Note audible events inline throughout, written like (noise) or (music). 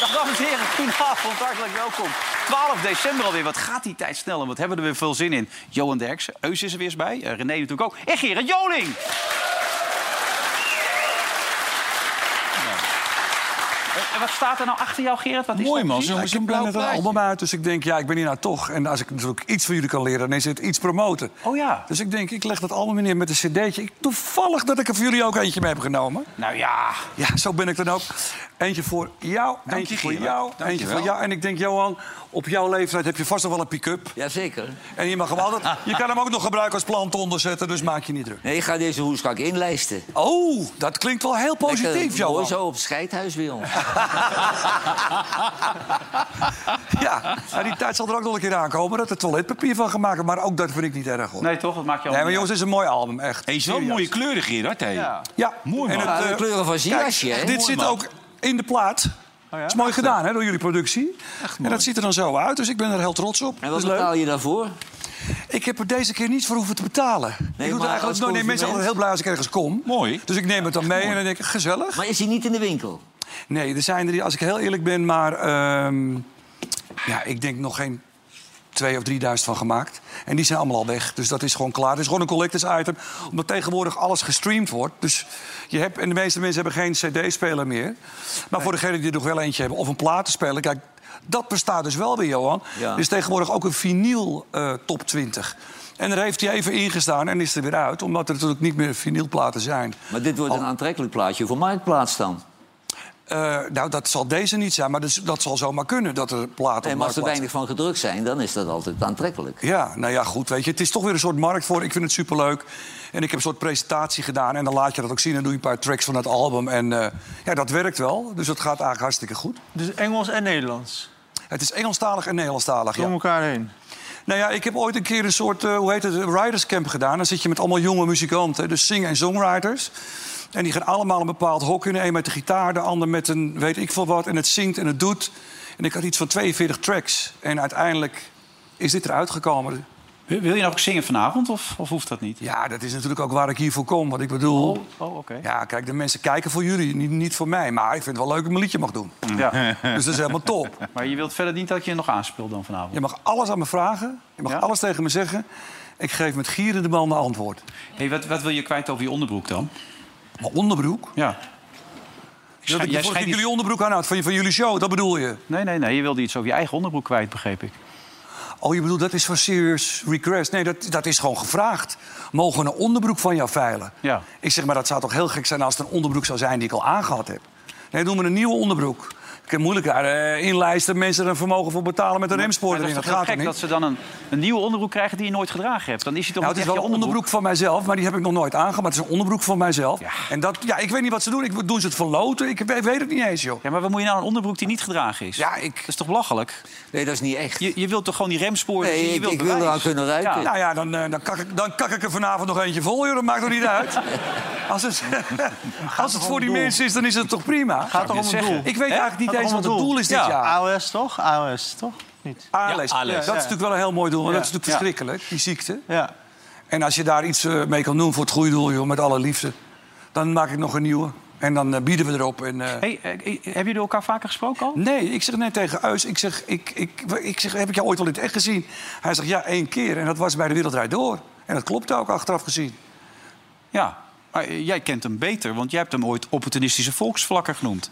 Dag dames en heren, goedenavond, hartelijk welkom. 12 december alweer, wat gaat die tijd snel en wat hebben we er weer veel zin in. Johan Derksen, Eus is er weer eens bij, eh, René natuurlijk ook en Gerard Joling. Nou. En wat staat er nou achter jou, Gerard? Wat is Mooi dat man, precies? jongens. Ik ben net een album uit, dus ik denk, ja, ik ben hier nou toch. En als ik natuurlijk iets van jullie kan leren, dan is het iets promoten. Oh ja. Dus ik denk, ik leg dat allemaal neer met een cd'tje. Ik, toevallig dat ik er voor jullie ook eentje mee heb genomen. Nou ja, Ja, zo ben ik dan ook. Eentje voor jou, Dank eentje je, voor Gerard. jou, Dank je eentje wel. voor jou. En ik denk, Johan, op jouw leeftijd heb je vast nog wel een pick-up. Jazeker. En je mag hem (laughs) altijd... Je kan hem ook nog gebruiken als plant onderzetten, dus maak je niet druk. Nee, ik ga deze hoes ga ik inlijsten. Oh, dat klinkt wel heel positief, Lekker Mooi Johan. zo op scheidhuis bij (laughs) ons. Ja, nou, die tijd zal er ook nog een keer aankomen. Dat er toiletpapier van gemaakt wordt, maar ook dat vind ik niet erg, hoor. nee toch, dat maakt je al Oh, Nee, maar jongens, het is een mooi album, echt. Hij is wel mooie kleuren, Gerard. hè? Ja. Ja, Mooi, En man. het, Ja, Ah, de eh, kleuren van zijn kijk, jasje, hè? Dit zit man. ook in de plaat. Het is mooi gedaan, hè, door jullie productie. en dat ziet er dan zo uit, dus ik ben er heel trots op. En dat wat is leuk. betaal je daarvoor? Ik heb er deze keer niets voor hoeven te betalen. ik doe maar het als eigenlijk nooit. Nee, mensen zijn consument- altijd heel blij als ik ergens kom. Mooi. Dus ik neem het dan mee en dan denk ik, gezellig. Maar is hij niet in de winkel? Nee, er zijn er, die- als ik heel eerlijk ben, maar... ehm, ja, ik denk nog geen twee of drieduizend van gemaakt. En die zijn allemaal al weg. Dus dat is gewoon klaar. Het is gewoon een collectors item. Omdat tegenwoordig alles gestreamd wordt. Dus je hebt, en de meeste mensen hebben geen cd-speler meer. Maar voor degenen die er nog wel eentje hebben, of een platenspeler... Kijk, dat bestaat dus wel weer, Johan. Ja. Er is tegenwoordig ook een vinyl eh, top 20. En daar heeft hij even ingestaan en is er weer uit. Omdat er natuurlijk niet meer vinylplaten zijn. Maar dit Oh. wordt een aantrekkelijk plaatje voor Marktplaats dan. Eh, nou, dat zal deze niet zijn, maar dus, dat zal zomaar kunnen dat er platen op En als er marktplaats- weinig van gedrukt zijn, dan is dat altijd aantrekkelijk. Ja, nou ja, goed, weet je. Het is toch weer een soort markt voor. Ik vind het superleuk. En ik heb een soort presentatie gedaan. En dan laat je dat ook zien. En doe je een paar tracks van het album. En eh, ja, dat werkt wel. Dus dat gaat eigenlijk hartstikke goed. Dus Engels en Nederlands. Het is Engelstalig en Nederlandstalig, Door ja. elkaar heen. Nou ja, ik heb ooit een keer een soort, eh, hoe heet het, riderscamp gedaan. Dan zit je met allemaal jonge muzikanten, dus zingen en songwriters. En die gaan allemaal een bepaald hok in. Eén met de gitaar, de ander met een weet ik veel wat. En het zingt en het doet. En ik had iets van 42 tracks. En uiteindelijk is dit eruit gekomen. Wil wil je nou ook zingen vanavond of, of hoeft dat niet? Ja, dat is natuurlijk ook waar ik hiervoor kom. Want ik bedoel, Oh, oké. ja, kijk, de mensen kijken voor jullie, niet, niet voor mij. Maar ik vind het wel leuk dat ik mijn liedje mag (laughs) doen. Ja. Dus dat is helemaal top. Maar je wilt verder niet dat je nog aanspeelt dan vanavond? Je mag alles aan me vragen. Je mag Ja? alles tegen me zeggen. Ik geef met gierende banden antwoord. hey, wat, wat wil je kwijt over je onderbroek dan? Mijn onderbroek... Ja. Dat ik jij de vorige keer schijnt jullie onderbroek aan had van, van jullie show, dat bedoel je? Nee, nee, nee. Je wilde iets over je eigen onderbroek kwijt, begreep ik. Oh, je bedoelt dat is van serious request. Nee, dat, dat is gewoon gevraagd. Mogen we een onderbroek van jou veilen? Ja. Ik zeg maar, dat zou toch heel gek zijn als het een onderbroek zou zijn die ik al aangehad heb? Nee, doen we een nieuwe onderbroek. Ik heb moeilijk daar eh, inlijsten, mensen er een vermogen voor betalen met een remspoor Maar dat erin. is Dat toch heel gaat er gek niet. dat ze dan een, een nieuwe onderbroek krijgen die je nooit gedragen hebt. Dan is hij toch Nou, niet het is echt wel een je onderbroek van mijzelf, maar die heb ik nog nooit aangehad. Maar het is een onderbroek van mijzelf. Ja. En dat, ja, ik weet niet wat ze doen. Ik, doen ze het verloten? Ik weet weet het niet eens, joh. Ja, maar wat moet je nou aan een onderbroek die niet gedragen is? Ja, Dat ik, is toch belachelijk? Nee, dat is niet echt. Je, je wilt toch gewoon die remsporen Nee, zien? Je ik- wilt ik wil bewijs. eraan kunnen ruiken. Ja. Nou ja, dan, eh, dan, kak ik, dan kak ik er vanavond nog eentje vol, joh. Dat maakt toch niet uit? Als het, (laughs) als het voor die mensen is, dan is het toch prima? Gaat toch om het doel? Ik weet eigenlijk niet Gaat eens om wat het doel is dit Ja. jaar. AOS toch? AOS toch? Niet. ALS. Ja, ALS. Dat is natuurlijk wel een heel mooi doel, want dat is natuurlijk Ja. verschrikkelijk, die ziekte. Ja. En als je daar iets eh, mee kan doen voor het goede doel, joh, met alle liefde... dan maak ik nog een nieuwe en dan eh, bieden we erop. En, eh, Hey, eh, eh, hebben jullie elkaar vaker gesproken al? Nee, ik zeg net tegen Eus, ik zeg, ik, ik, ik zeg, heb ik jou ooit wel in het echt gezien? Hij zegt, ja, één keer. En dat was bij de Wereldrijd Door. En dat klopt ook, achteraf gezien. Ja. Maar eh, jij kent hem beter, want jij hebt hem ooit opportunistische volksvlakker genoemd.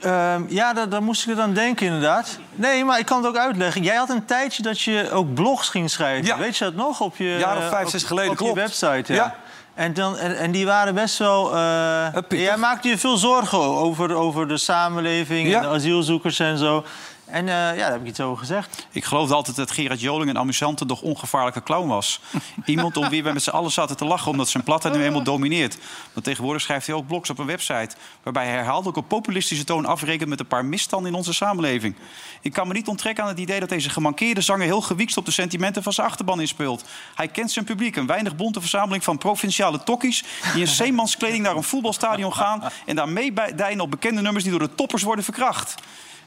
Ehm, ja, daar, daar moest ik dan denken inderdaad. Nee, maar ik kan het ook uitleggen. Jij had een tijdje dat je ook blogs ging schrijven. Ja. Weet je dat nog? Op je, Jaar of eh, vijf, op- zes geleden, op klopt. je website, ja. Ja. En, dan, en, en die waren best wel... eh, Eh, pittig. jij maakte je veel zorgen over, over de samenleving Ja. en de asielzoekers en zo. En eh, ja, daar heb ik iets over gezegd. Ik geloofde altijd dat Gerard Joling een amusante, doch ongevaarlijke clown was. Iemand om wie we met z'n allen zaten te lachen omdat zijn platheid nu eenmaal domineert. Maar tegenwoordig schrijft hij ook blogs op een website... waarbij hij herhaaldelijk op populistische toon afrekent met een paar misstanden in onze samenleving. Ik kan me niet onttrekken aan het idee dat deze gemankeerde zanger... heel gewiekst op de sentimenten van zijn achterban inspeelt. Hij kent zijn publiek, een weinig bonte verzameling van provinciale tokkies... die in zeemanskleding naar een voetbalstadion gaan... en daar meedijnen op bekende nummers die door de toppers worden verkracht.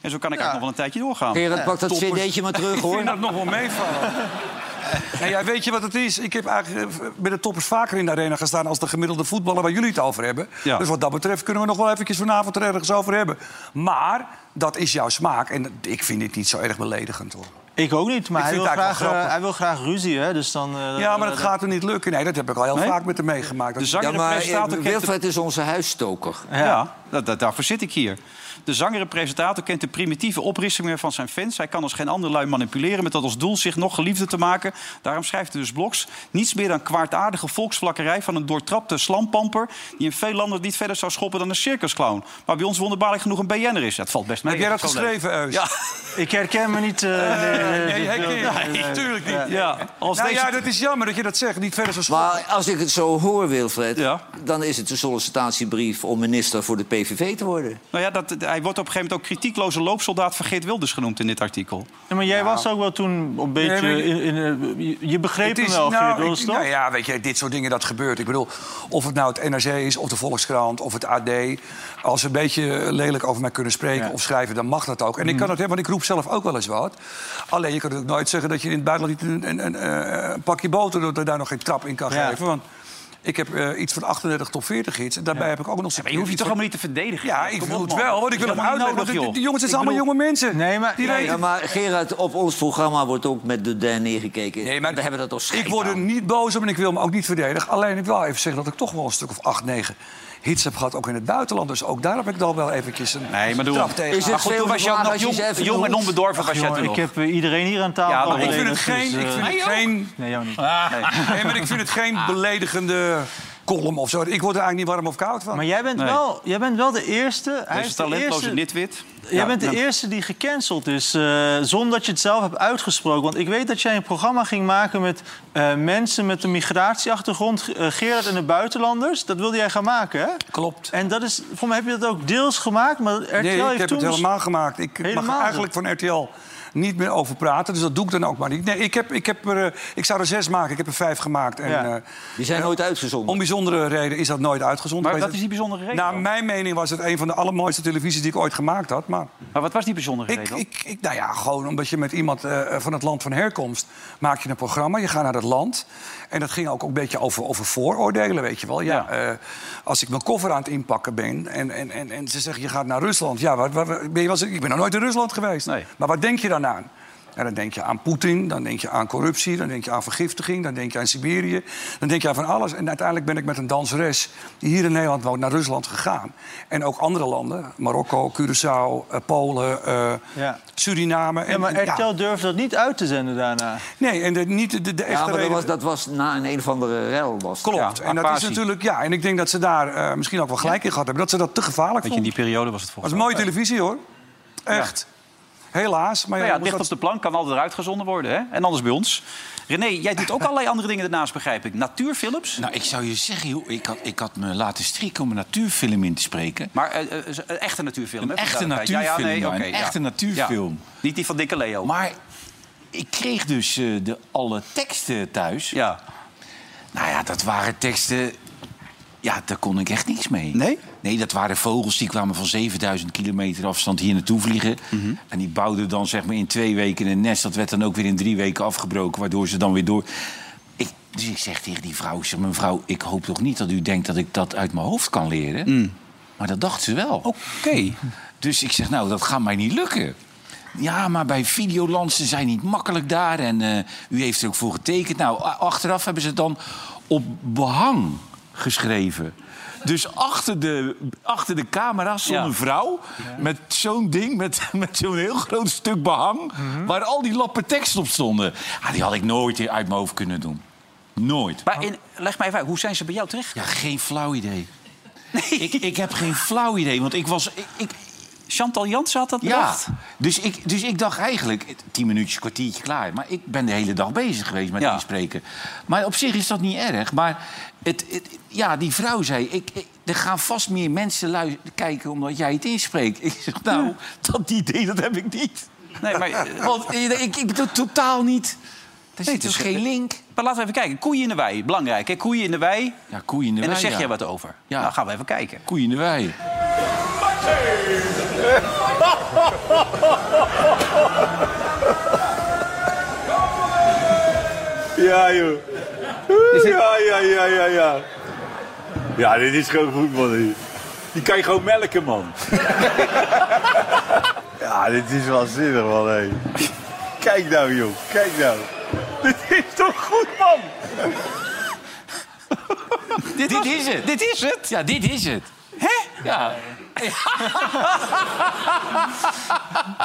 En zo kan ik eigenlijk nog wel een tijdje doorgaan. Gerard, pak dat cd'tje maar terug, (laughs) Ik vind hoor. Nou, dat nog wel (laughs) meevallen. Nee, Nou ja, weet je wat het is? Ik heb eigenlijk eh, bij de toppers vaker in de arena gestaan... als de gemiddelde voetballer waar jullie het over hebben. Ja. Dus wat dat betreft kunnen we nog wel eventjes vanavond er ergens over hebben. Maar dat is jouw smaak. En ik vind dit niet zo erg beledigend, hoor. Ik ook niet, maar Ik hij vind wil, het eigenlijk graag, wel grappig. eh, hij wil graag ruzie, hè? Dus dan, eh, Ja, dan- maar dat dan- gaat er niet lukken. Nee, dat heb ik al heel vaak met hem meegemaakt. De Dat- zanger Ja, en maar eh, presentator kent de... Wilfred is onze huisstoker. Ja, da- da- daarvoor zit ik hier. De zanger en presentator kent de primitieve oprissingen van zijn fans. Hij kan als geen ander lui manipuleren met dat als doel zich nog geliefder te maken. Daarom schrijft hij dus blogs. Niets meer dan kwaadaardige volksvlakkerij van een doortrapte slampamper... die in veel landen niet verder zou schoppen dan een circusclown. Maar bij ons wonderbaarlijk genoeg een BN'er is. Dat valt best mee. eh, Heb jij dat Zo leuk. geschreven, Eus? Ja. Ik herken me (laughs) niet. eh, in dit- Nee, dit hij beeld. kan- nee, tuurlijk niet. Ja, als Nou deze... ja, dat is jammer dat je dat zegt. Niet verder zo schoon. Maar als ik het zo hoor, Wilfred, Ja. dan is het een sollicitatiebrief om minister voor de PVV te worden. Nou ja, dat, hij wordt op een gegeven moment ook kritiekloze loopsoldaat van Geert Wilders genoemd in dit artikel. Ja, maar jij was ook wel toen een beetje... maar- in, in, eh, je- je begreep hem wel, nou, Gerard ik- Wilders, toch? nou ja, weet je, dit soort dingen dat gebeurt. Ik bedoel, of het nou het NRC is, of de Volkskrant, of het AD. Als ze een beetje lelijk over mij kunnen spreken of schrijven, dan mag dat ook. En ik Mhm. kan het hebben, want ik roep zelf ook wel eens wat. Alleen je kan natuurlijk nooit zeggen dat je in het buitenland niet een, een, een, eh, een pakje boter doet en daar nog geen trap in kan Ja. geven. Want ik heb eh, iets van 38 tot 40 hits. En daarbij heb ik ook nog Maar je hoeft je toch helemaal niet te verdedigen? Ja, ik Kom wil op, het man. wel, want ik Dat wil is hem helemaal uitleggen. niet want nodig, die- joh. die jongens, het Ik zijn allemaal jonge mensen. Nee, maar- die nee, weten- Ja, maar Gerard, op ons programma wordt ook met de der neergekeken. Nee, maar We hebben dat al schrik Ik word er niet boos om en ik wil me ook niet verdedigen. Alleen ik wil even zeggen dat ik toch wel een stuk of acht, negen hits heb gehad. Ook in het buitenland. Dus ook daar heb ik dan wel eventjes een Nee, maar doe trap hem. tegen. Is het Maar goed, veel Toen was je ook vragen nog als je jong, ze even jong en noemt? onbedorven was jij Jongen, toen nog. ik heb eh, iedereen hier aan tafel. Ja, maar ik ik overleden, vind het geen... dus, Ik eh, vind het geen Nee, jou niet. nee, maar ik vind het Ah. geen beledigende column of zo. Ik word er eigenlijk niet warm of koud van. Maar jij bent, Nee. wel, jij bent wel de eerste. Hij Deze is de talentloze eerste. nitwit. nou, Jij bent de eerste die gecanceld is, eh, zonder dat je het zelf hebt uitgesproken. Want ik weet dat jij een programma ging maken met eh, mensen met een migratieachtergrond, eh, Gerard en de buitenlanders. Dat wilde jij gaan maken, hè? Klopt. En dat is, voor mij heb je dat ook deels gemaakt, maar RTL Nee, heeft ik heb toen... het helemaal gemaakt. Ik mag Helemaal er eigenlijk van RTL niet meer over praten. Dus dat doe ik dan ook maar niet. Nee, ik, heb, ik, heb er, eh, ik zou er zes maken. Ik heb er vijf gemaakt. En, Ja. eh, Die zijn nooit uitgezonden. Om bijzondere reden is dat nooit uitgezonden. Maar geweest. wat is die bijzondere reden Naar dan? mijn mening was het een van de allermooiste televisies die ik ooit gemaakt had. Maar Maar wat was die bijzondere ik, reden? dan? ik, ik, nou ja, gewoon omdat je met iemand eh, van het land van herkomst maak je een programma. Je gaat naar dat land. En dat ging ook een beetje over, over vooroordelen, weet je wel. Ja, Ja. eh, als ik mijn koffer aan het inpakken ben en, en, en, en ze zeggen je gaat naar Rusland. Ja, waar, waar- waar- ben je wel eens- ik ben nog nooit in Rusland geweest. Nee. Maar wat denk je dan aan? En dan denk je aan Poetin, dan denk je aan corruptie, dan denk je aan vergiftiging, dan denk je aan Siberië, dan denk je aan van alles. En uiteindelijk ben ik met een danseres die hier in Nederland woont naar Rusland gegaan. En ook andere landen, Marokko, Curaçao, eh, Polen, eh, Ja. Suriname. En, Ja, maar en- RTL durfde dat niet uit te zenden daarna. nee, en de, niet de, de, de Ja, echte maar dat reden- was, dat was na een een of andere rel. Was. dat. Klopt. Ja, en dat is apathie. natuurlijk, ja, en ik denk dat ze daar eh, misschien ook wel gelijk in gehad hebben. Dat ze dat te Weet gevaarlijk je, vonden. in die periode was het Dat volgens was mij. mooie televisie hoor. Echt. Helaas. Nou Maar ja, ja, dan moest dicht dat- op de plank kan altijd eruit gezonden worden. Hè? En anders bij ons. René, jij doet ook allerlei andere dingen daarnaast, begrijp ik. Natuurfilms. Nou, ik zou je zeggen, joh, ik had, ik had me laten strikken om een natuurfilm in te spreken. Maar eh, eh, een echte natuurfilm. Een hè, echte voor duidelijkheid. natuurfilm, ja, oké, een echte natuurfilm. Ja. Niet die van Dikke Leo. Maar ik kreeg dus eh, de, alle teksten thuis. Ja. Nou ja, dat waren teksten... Ja, daar kon ik echt niks mee. Nee? Nee, dat waren vogels die kwamen van 7000 kilometer afstand hier naartoe vliegen. Mhm. En die bouwden dan zeg maar in twee weken een nest. Dat werd dan ook weer in drie weken afgebroken, waardoor ze dan weer door... Ik, dus ik zeg tegen die vrouw, ik zeg, mevrouw, ik hoop toch niet dat u denkt dat ik dat uit mijn hoofd kan leren? Maar dat dacht ze wel. Mm. Oké. Dus ik zeg, nou, dat gaat mij niet lukken. Ja, maar bij Videoland, ze zijn niet makkelijk daar. En eh, u heeft er ook voor getekend. Nou, a- achteraf hebben ze het dan op behang geschreven. Dus achter de, achter de camera stond Ja. een vrouw met zo'n ding, met, met zo'n heel groot stuk behang... waar al die lappen tekst op stonden. Ja, die had ik nooit uit mijn hoofd kunnen doen. Nooit. Maar in, leg mij even uit, hoe zijn ze bij jou terecht? Ja, geen flauw idee. Ik, ik heb geen flauw idee, want ik was... Ik, ik, Chantal Jansen had dat ja, bedacht? Dus ik, dus ik dacht eigenlijk, eh, tien minuutjes, kwartiertje klaar. Maar ik ben de hele dag bezig geweest met Ja. inspreken. Maar op zich is dat niet erg. Maar het, het- ja, die vrouw zei, ik, ik- er gaan vast meer mensen lui- kijken omdat jij het inspreekt. (laughs) Ik zeg, nou, dat idee dat heb ik niet. Nee, maar, (laughs) eh, Want eh, ik, ik doe totaal niet... Er zit het dus is- geen link. maar laten we even kijken. Koeien in de wei, belangrijk. Hè? Koeien in de wei. Ja, koeien in de en wei, daar zeg ja. jij wat over. Ja. Nou, gaan we even kijken. Koeien in de wei. Ja, joh. Ja, ja, ja, ja, ja. Ja, dit is gewoon goed, man. Die kan je gewoon melken, man. ja, dit is wel zinnig, man. hé. Kijk nou, joh. Kijk nou. Dit is toch goed, man? Dit, is het. Dit is het. Ja, dit is het. Hè? Ja.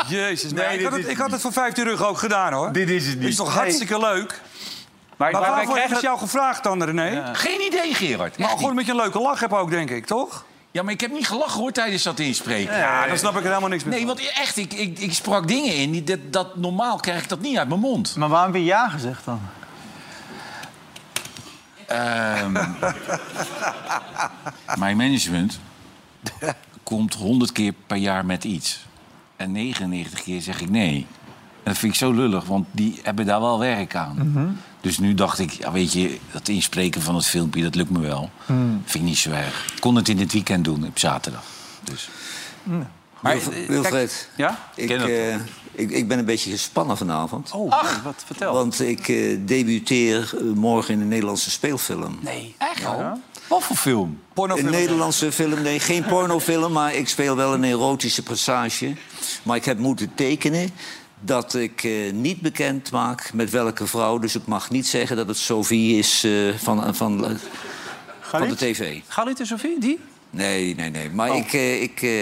Jezus, Nee, nee, ik, dit had het, is- ik had het voor 15 euro ook gedaan, hoor. Dit is het niet. is toch hartstikke leuk? Maar, maar Maar wij waarvoor is krijgen het jou gevraagd dan, René? Geen idee, Gerard. Maar Echt gewoon met je leuke lach heb ook, denk ik, toch? niet. Ja, maar ik heb niet gelachen hoor tijdens dat inspreken. Ja, dan snap ik er helemaal niks meer Nee, van. want echt, ik, ik, ik sprak dingen in. Die, dat, dat, normaal krijg ik dat niet uit mijn mond. Maar waarom heb je ja gezegd dan? Mijn management komt 100 keer per jaar met iets. En 99 keer zeg ik nee. En dat vind ik zo lullig, want die hebben daar wel werk aan. Dus nu dacht ik, ja, weet je, dat inspreken van het filmpje, dat lukt me wel. Vind ik niet zo erg. Ik kon het in het weekend doen, op zaterdag. Dus. Maar, Wilf- eh, Wilfred, Ja? ik, ken dat toch? eh, ik, ik ben een beetje gespannen vanavond. Oh, wat vertel. Want ik eh, debuteer eh, morgen in een Nederlandse speelfilm. Nee, echt al? Wat voor film? Een Nederlandse film, nee, geen pornofilm, maar ik speel wel een erotische passage. Maar ik heb moeten tekenen dat ik eh, niet bekend maak met welke vrouw. Dus ik mag niet zeggen dat het Sophie is eh, van, van, van de tv. Galit Oh. en Sofie, die? Nee, nee, nee. Maar ik, eh, ik, eh,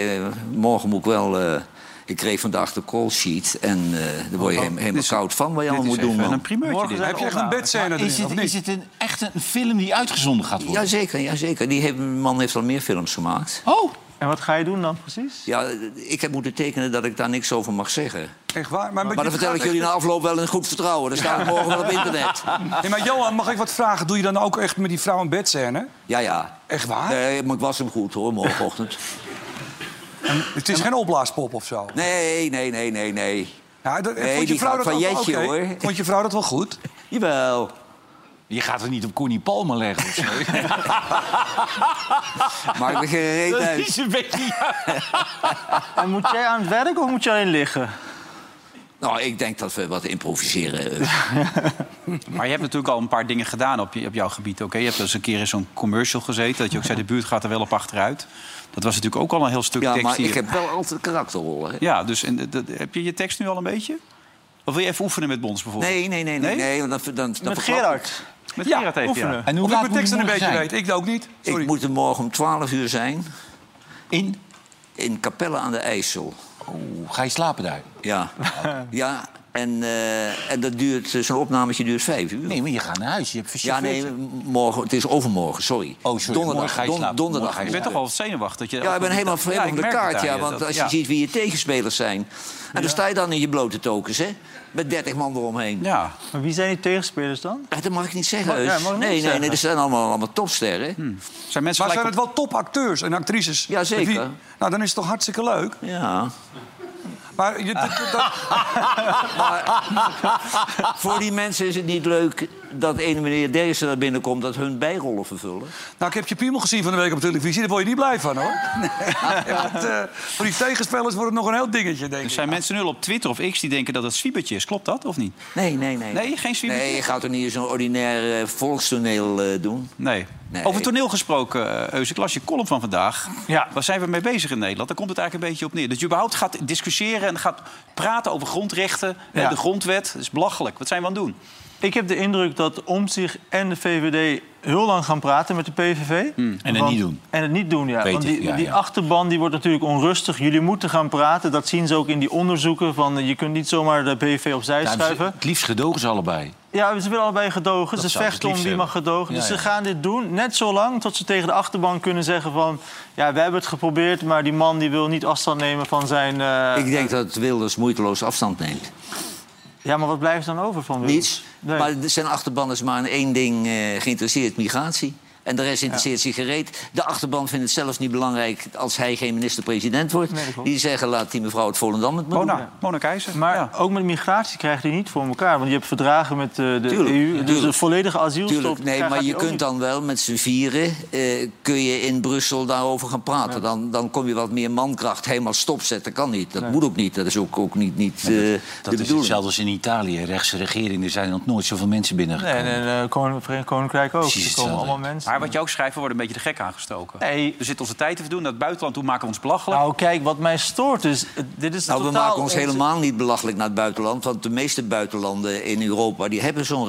morgen moet ik wel... eh, ik kreeg vandaag de call sheet en eh, daar word je Oh, he- helemaal koud van wat je allemaal moet doen, Een man. primeurtje dit. Heb je echt een bedscène erin, Is het, of niet? is het een, echt een film die uitgezonden gaat worden? Jazeker, jazeker. Die heeft, man heeft al meer films gemaakt. Oh, En wat ga je doen dan precies? Ja, eh, ik heb moeten tekenen dat ik daar niks over mag zeggen. Echt waar? Maar, Maar dan vertel ik jullie na afloop wel in goed vertrouwen. Dan staan we morgen wel op internet. Nee, maar Johan, mag ik wat vragen? Doe je dan ook echt met die vrouw een bedscène? Ja, ja. Echt waar? Nee, maar ik was hem goed hoor, morgenochtend. Het is geen opblaaspop of zo. Nee, nee, nee, nee, nee. Ja, dat, Nee, vond je die vrouw dat gaat van ook wel Jetje, oké? hoor. Vond je vrouw dat wel goed? Jawel. je gaat het niet op Connie Palmer leggen (laughs) of zo. Maak me geen reet Dat uit. is een beetje... En moet jij aan het werk of moet je alleen liggen? Nou, ik denk dat we wat improviseren. Maar je hebt natuurlijk al een paar dingen gedaan op, je, op jouw gebied. Oké, Je hebt dus een keer in zo'n commercial gezeten. Dat je ook zei, de buurt gaat er wel op achteruit. Dat was natuurlijk ook al een heel stuk Ja, tekst. maar hier. ik heb wel altijd karakterrollen. hè. Ja, dus en, dat- heb je je tekst nu al een beetje? Of wil je even oefenen met Bons bijvoorbeeld? Nee, nee, nee, nee. Nee? nee want dan, dan, dan Met verklap ik. Gerard. Met Ja, Gerard even, oefenen. ja. En hoe Of ik laat mijn moet teksten die een beetje morgen weet. Ik ook niet. Sorry. Ik moet er morgen om 12 uur zijn In? in Capelle aan de IJssel. Oh, ga je slapen daar? Ja. ja. En, eh, en dat duurt, eh, zo'n opnametje duurt vijf uur. Nee, maar je gaat naar huis. Je hebt ja, nee, verchauffeerd. morgen, het is overmorgen, sorry. Oh, sorry, morgen ga je don- slapen. donderdag. Morgen ga Je bent toch al zenuwachtig? Dat je Ja, ik ben helemaal Ja, helemaal ik van de merk het kaart, aan ja. je, Want dat- als ja. je ziet wie je tegenspelers zijn... en dan sta je dan in je blote tokens, hè. Met 30 man eromheen. Ja, Maar wie zijn die tegenspelers dan? Eh, Dat mag ik niet zeggen, Mag- ja, Heus. mag ik nee, niet nee, zeggen. nee, dat zijn allemaal, allemaal topsterren. Hmm. zijn mensen Maar gelijk zijn het wel topacteurs en actrices? Ja, zeker. Met nou, dan is het toch hartstikke leuk? Ja. (laughs) Maar je, dat- dat- Voor die mensen is het niet leuk dat ene meneer Derksen naar binnen komt... dat hun bijrollen vervullen. nou, ik heb je piemel gezien van de week op televisie. Daar word je niet blij van, hoor. (laughs) Nee, dat, eh, voor die tegenspelers wordt het nog een heel dingetje, denk Er ik. zijn mensen nu al op Twitter of X die denken dat het zwiebertje is. Klopt dat of niet? Nee, nee, nee. Nee, geen zwiebertje? Nee, je gaat toch niet zo'n ordinair eh, volkstoneel eh, doen? Nee. Nee. Over toneel gesproken, eh, Eus, ik las je column van vandaag. Ja. Waar zijn we mee bezig in Nederland? Daar komt het eigenlijk een beetje op neer. Dat je überhaupt gaat discussiëren en gaat praten over grondrechten... eh, en Ja. de grondwet. Dat is belachelijk. Wat zijn we aan het doen? Ik heb de indruk dat Omtzigt en de VVD heel lang gaan praten met de PVV. Hmm. En het Want- niet doen. En het niet doen, ja. Weet Want ik, die, ja, die ja. achterban die wordt natuurlijk onrustig. Jullie moeten gaan praten. Dat zien ze ook in die onderzoeken. Van, eh, je kunt niet zomaar de PVV opzij Ja, schuiven. het liefst gedogen ze allebei. Ja, ze willen allebei gedogen. Dat ze zou ik het vechten om liefst wie mag hebben. gedogen. Ja, dus ja. ze gaan dit doen net zo lang tot ze tegen de achterban kunnen zeggen van... ja, we hebben het geprobeerd, maar die man die wil niet afstand nemen van zijn... eh, Ik denk dat Wilders moeiteloos afstand neemt. Ja, maar wat blijft er dan over van Wilders? Niets. Nee. Maar zijn achterban is maar in één ding eh, geïnteresseerd, migratie. En de rest interesseert zich gereed. De achterban vindt het zelfs niet belangrijk als hij geen minister-president wordt. Nee, dat klopt. Oh, nou, die zeggen, laat die mevrouw het Volendam het maar doen. Mona, Mona Keijzer. Maar ja. ook met migratie krijg je die niet voor elkaar. Want je hebt verdragen met eh, de Tuurlijk, EU. ja. Dus tuurlijk. een volledige asielstop. Tuurlijk, nee, krijg- maar gaat je die ook kunt niet. dan wel met z'n vieren... eh, kun je in Brussel daarover gaan praten. Dan, dan kom je wat meer mankracht helemaal stopzetten. Kan niet, dat moet ook niet. Dat is ook, ook niet, niet eh, Dat de is bedoeling. hetzelfde als in Italië. Rechtse regering, er zijn nog nooit zoveel mensen binnengekomen. Nee, en eh, Koning- Verenigd Koninkrijk ook. Precies Er komen hetzelfde. allemaal mensen. Maar wat je ook schrijft, we worden een beetje de gek aangestoken. Nee. We zitten onze tijd te verdoen naar het buitenland, toen maken we ons belachelijk. Nou, kijk, wat mij stoort is... eh, Dit is Nou, we totaal maken ons onzin- helemaal niet belachelijk naar het buitenland. Want de meeste buitenlanden in Europa die hebben zo'n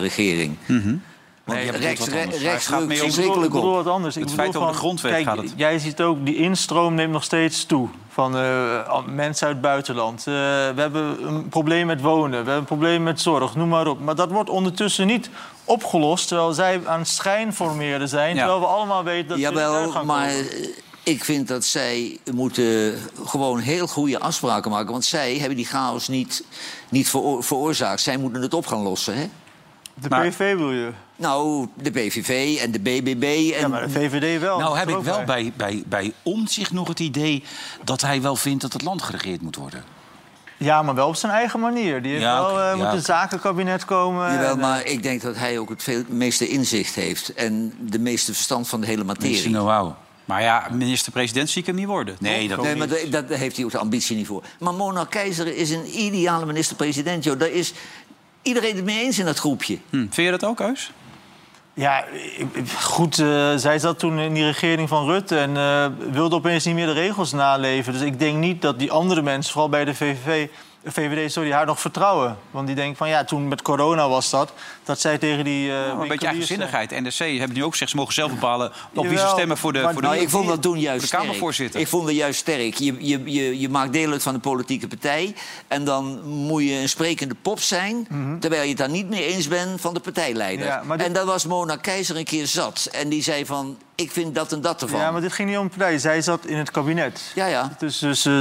rechtsregering. Want jij bedoelt rechts, wat re- anders. rechts Hij gaat mee drukt om- Ik bedoel, ik verschrikkelijk bedoel op. wat anders. Ik Het bedoel feit over de grondwet kijk, gaat het. Jij ziet ook, die instroom neemt nog steeds toe. Van eh, al- mensen uit het buitenland. Eh, we hebben een probleem met wonen. We hebben een probleem met zorg. Noem maar op. Maar dat wordt ondertussen niet opgelost... terwijl zij aan het schijnformeren zijn. Ja. Terwijl we allemaal weten dat ze eruit Jawel, gaan maar komen. eh, ik vind dat zij moeten gewoon heel goede afspraken maken. Want zij hebben die chaos niet, niet veroor- veroorzaakt. Zij moeten het op gaan lossen. Hè? De maar- PV wil je. Nou, de PVV en de BBB. En Ja, maar de VVD wel. Nou heb Dat ik ook wel bij, bij, bij Omtzigt nog het idee dat hij wel vindt dat het land geregeerd moet worden. Ja, maar wel op zijn eigen manier. Die heeft Ja, wel, oké, eh, ja, moet oké. een zakenkabinet komen. Jawel, en, eh, maar ik denk dat hij ook het veel, meeste inzicht heeft. En de meeste verstand van de hele materie. Misschien wauw. Maar ja, minister-president zie ik hem niet worden. Nee, dat Nee, maar dat- dat- daar heeft hij ook de ambitie niet voor. Maar Mona Keizer is een ideale minister-president. joh. Daar is iedereen het mee eens in dat groepje. Hm, Vind je dat ook, Heus? Ja, ik- ik- goed, eh, zij zat toen in die regering van Rutte... en eh, wilde opeens niet meer de regels naleven. Dus ik denk niet dat die andere mensen, vooral bij de VVV... eh, VVD, sorry, haar nog vertrouwen. Want die denken van, ja, toen met corona was dat... dat zij tegen die... eh Oh, een beetje winkeliers, eigenzinnigheid. NRC hebben nu ook gezegd, ze mogen zelf bepalen op wie ze Jawel, stemmen voor de, maar voor de, Nou, ik vond dat toen juist voor de sterk. Kamervoorzitter. Ik vond dat juist sterk. Je, je, je, je maakt deel uit van een politieke partij... en dan moet je een sprekende pop zijn... terwijl je het daar niet mee eens bent van de partijleider. Mhm. Ja, maar dit- En daar was Mona Keizer een keer zat. En die zei van, ik vind dat en dat eh, ervan. Ja, maar dit ging niet om een partij. Zij zat in het kabinet. ja, ja. Dus, dus eh,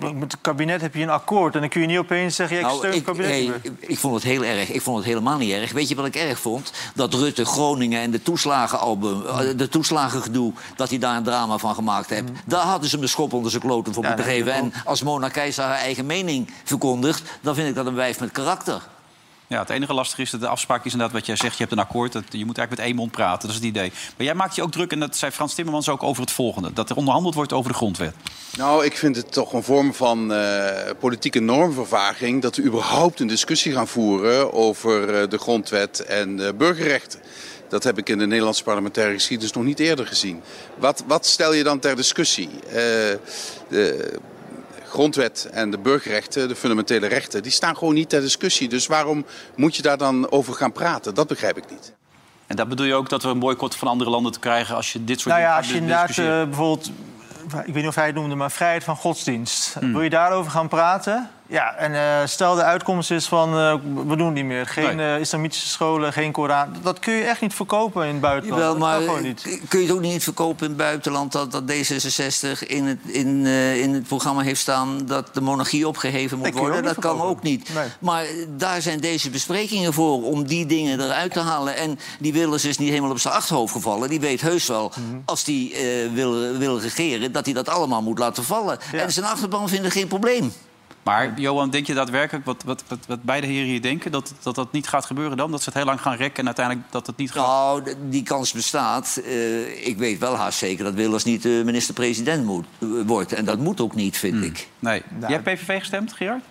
met het kabinet heb je een akkoord. En dan kun je niet opeens zeggen, ja, ik Nou, steun het ik, kabinet niet hey, meer. ik- ik vond het heel erg. Ik vond het helemaal niet erg. Weet je wat ik erg vond? Dat Rutte Groningen en de toeslagenalbum, eh, de toeslagengedoe, dat hij daar een drama van gemaakt heeft. Daar hadden ze hem de schop onder zijn kloten voor moeten geven. En als Mona Keizer haar eigen mening verkondigt, dan vind ik dat een wijf met karakter. Ja, het enige lastige is dat de afspraak is inderdaad wat jij zegt. Je hebt een akkoord, dat, je moet eigenlijk met één mond praten. Dat is het idee. Maar jij maakt je ook druk, en dat zei Frans Timmermans ook, over het volgende. Dat er onderhandeld wordt over de grondwet. Nou, ik vind het toch een vorm van eh, politieke normvervaging dat we überhaupt een discussie gaan voeren over eh, de grondwet en eh, burgerrechten. Dat heb ik in de Nederlandse parlementaire geschiedenis nog niet eerder gezien. Wat, wat stel je dan ter discussie? Eh, de grondwet en de burgerrechten, de fundamentele rechten, die staan gewoon niet ter discussie. Dus waarom moet je daar dan over gaan praten? Dat begrijp ik niet. En dat bedoel je ook dat we een boycott van andere landen te krijgen... als je dit soort Nou ja, als je dingen gaat discussiëren? inderdaad eh, bijvoorbeeld... Ik weet niet of hij het noemde, maar vrijheid van godsdienst. Hmm. Wil je daarover gaan praten? Ja, en eh, stel de uitkomst is van... eh, we doen niet meer. Geen Nee. eh, islamitische scholen, geen Koran. Dat kun je echt niet verkopen in het buitenland. Jawel, dat maar kan gewoon eh, niet. kun je het ook niet verkopen in het buitenland dat, dat D66 in het, in, eh, in het programma heeft staan dat de monarchie opgeheven moet Nee, kun je ook worden? niet Dat kan verkopen. ook niet. Nee. Maar daar zijn deze besprekingen voor, om die dingen eruit te halen. En die Willers is niet helemaal op zijn achterhoofd gevallen. Die weet heus wel, Mhm. als die eh, wil, wil regeren, dat hij dat allemaal moet laten vallen. En zijn achterban vindt er geen probleem. Maar Johan, denk je daadwerkelijk, wat, wat, wat, wat beide heren hier denken... Dat, dat dat niet gaat gebeuren dan? Dat ze het heel lang gaan rekken en uiteindelijk dat het niet gaat... Nou, d- die kans bestaat. Eh, ik weet wel haast zeker dat Willers niet eh, minister-president moet- eh, wordt. En dat moet ook niet, Mhm. vind ik. Nee. Jij hebt PVV gestemd, Gerard?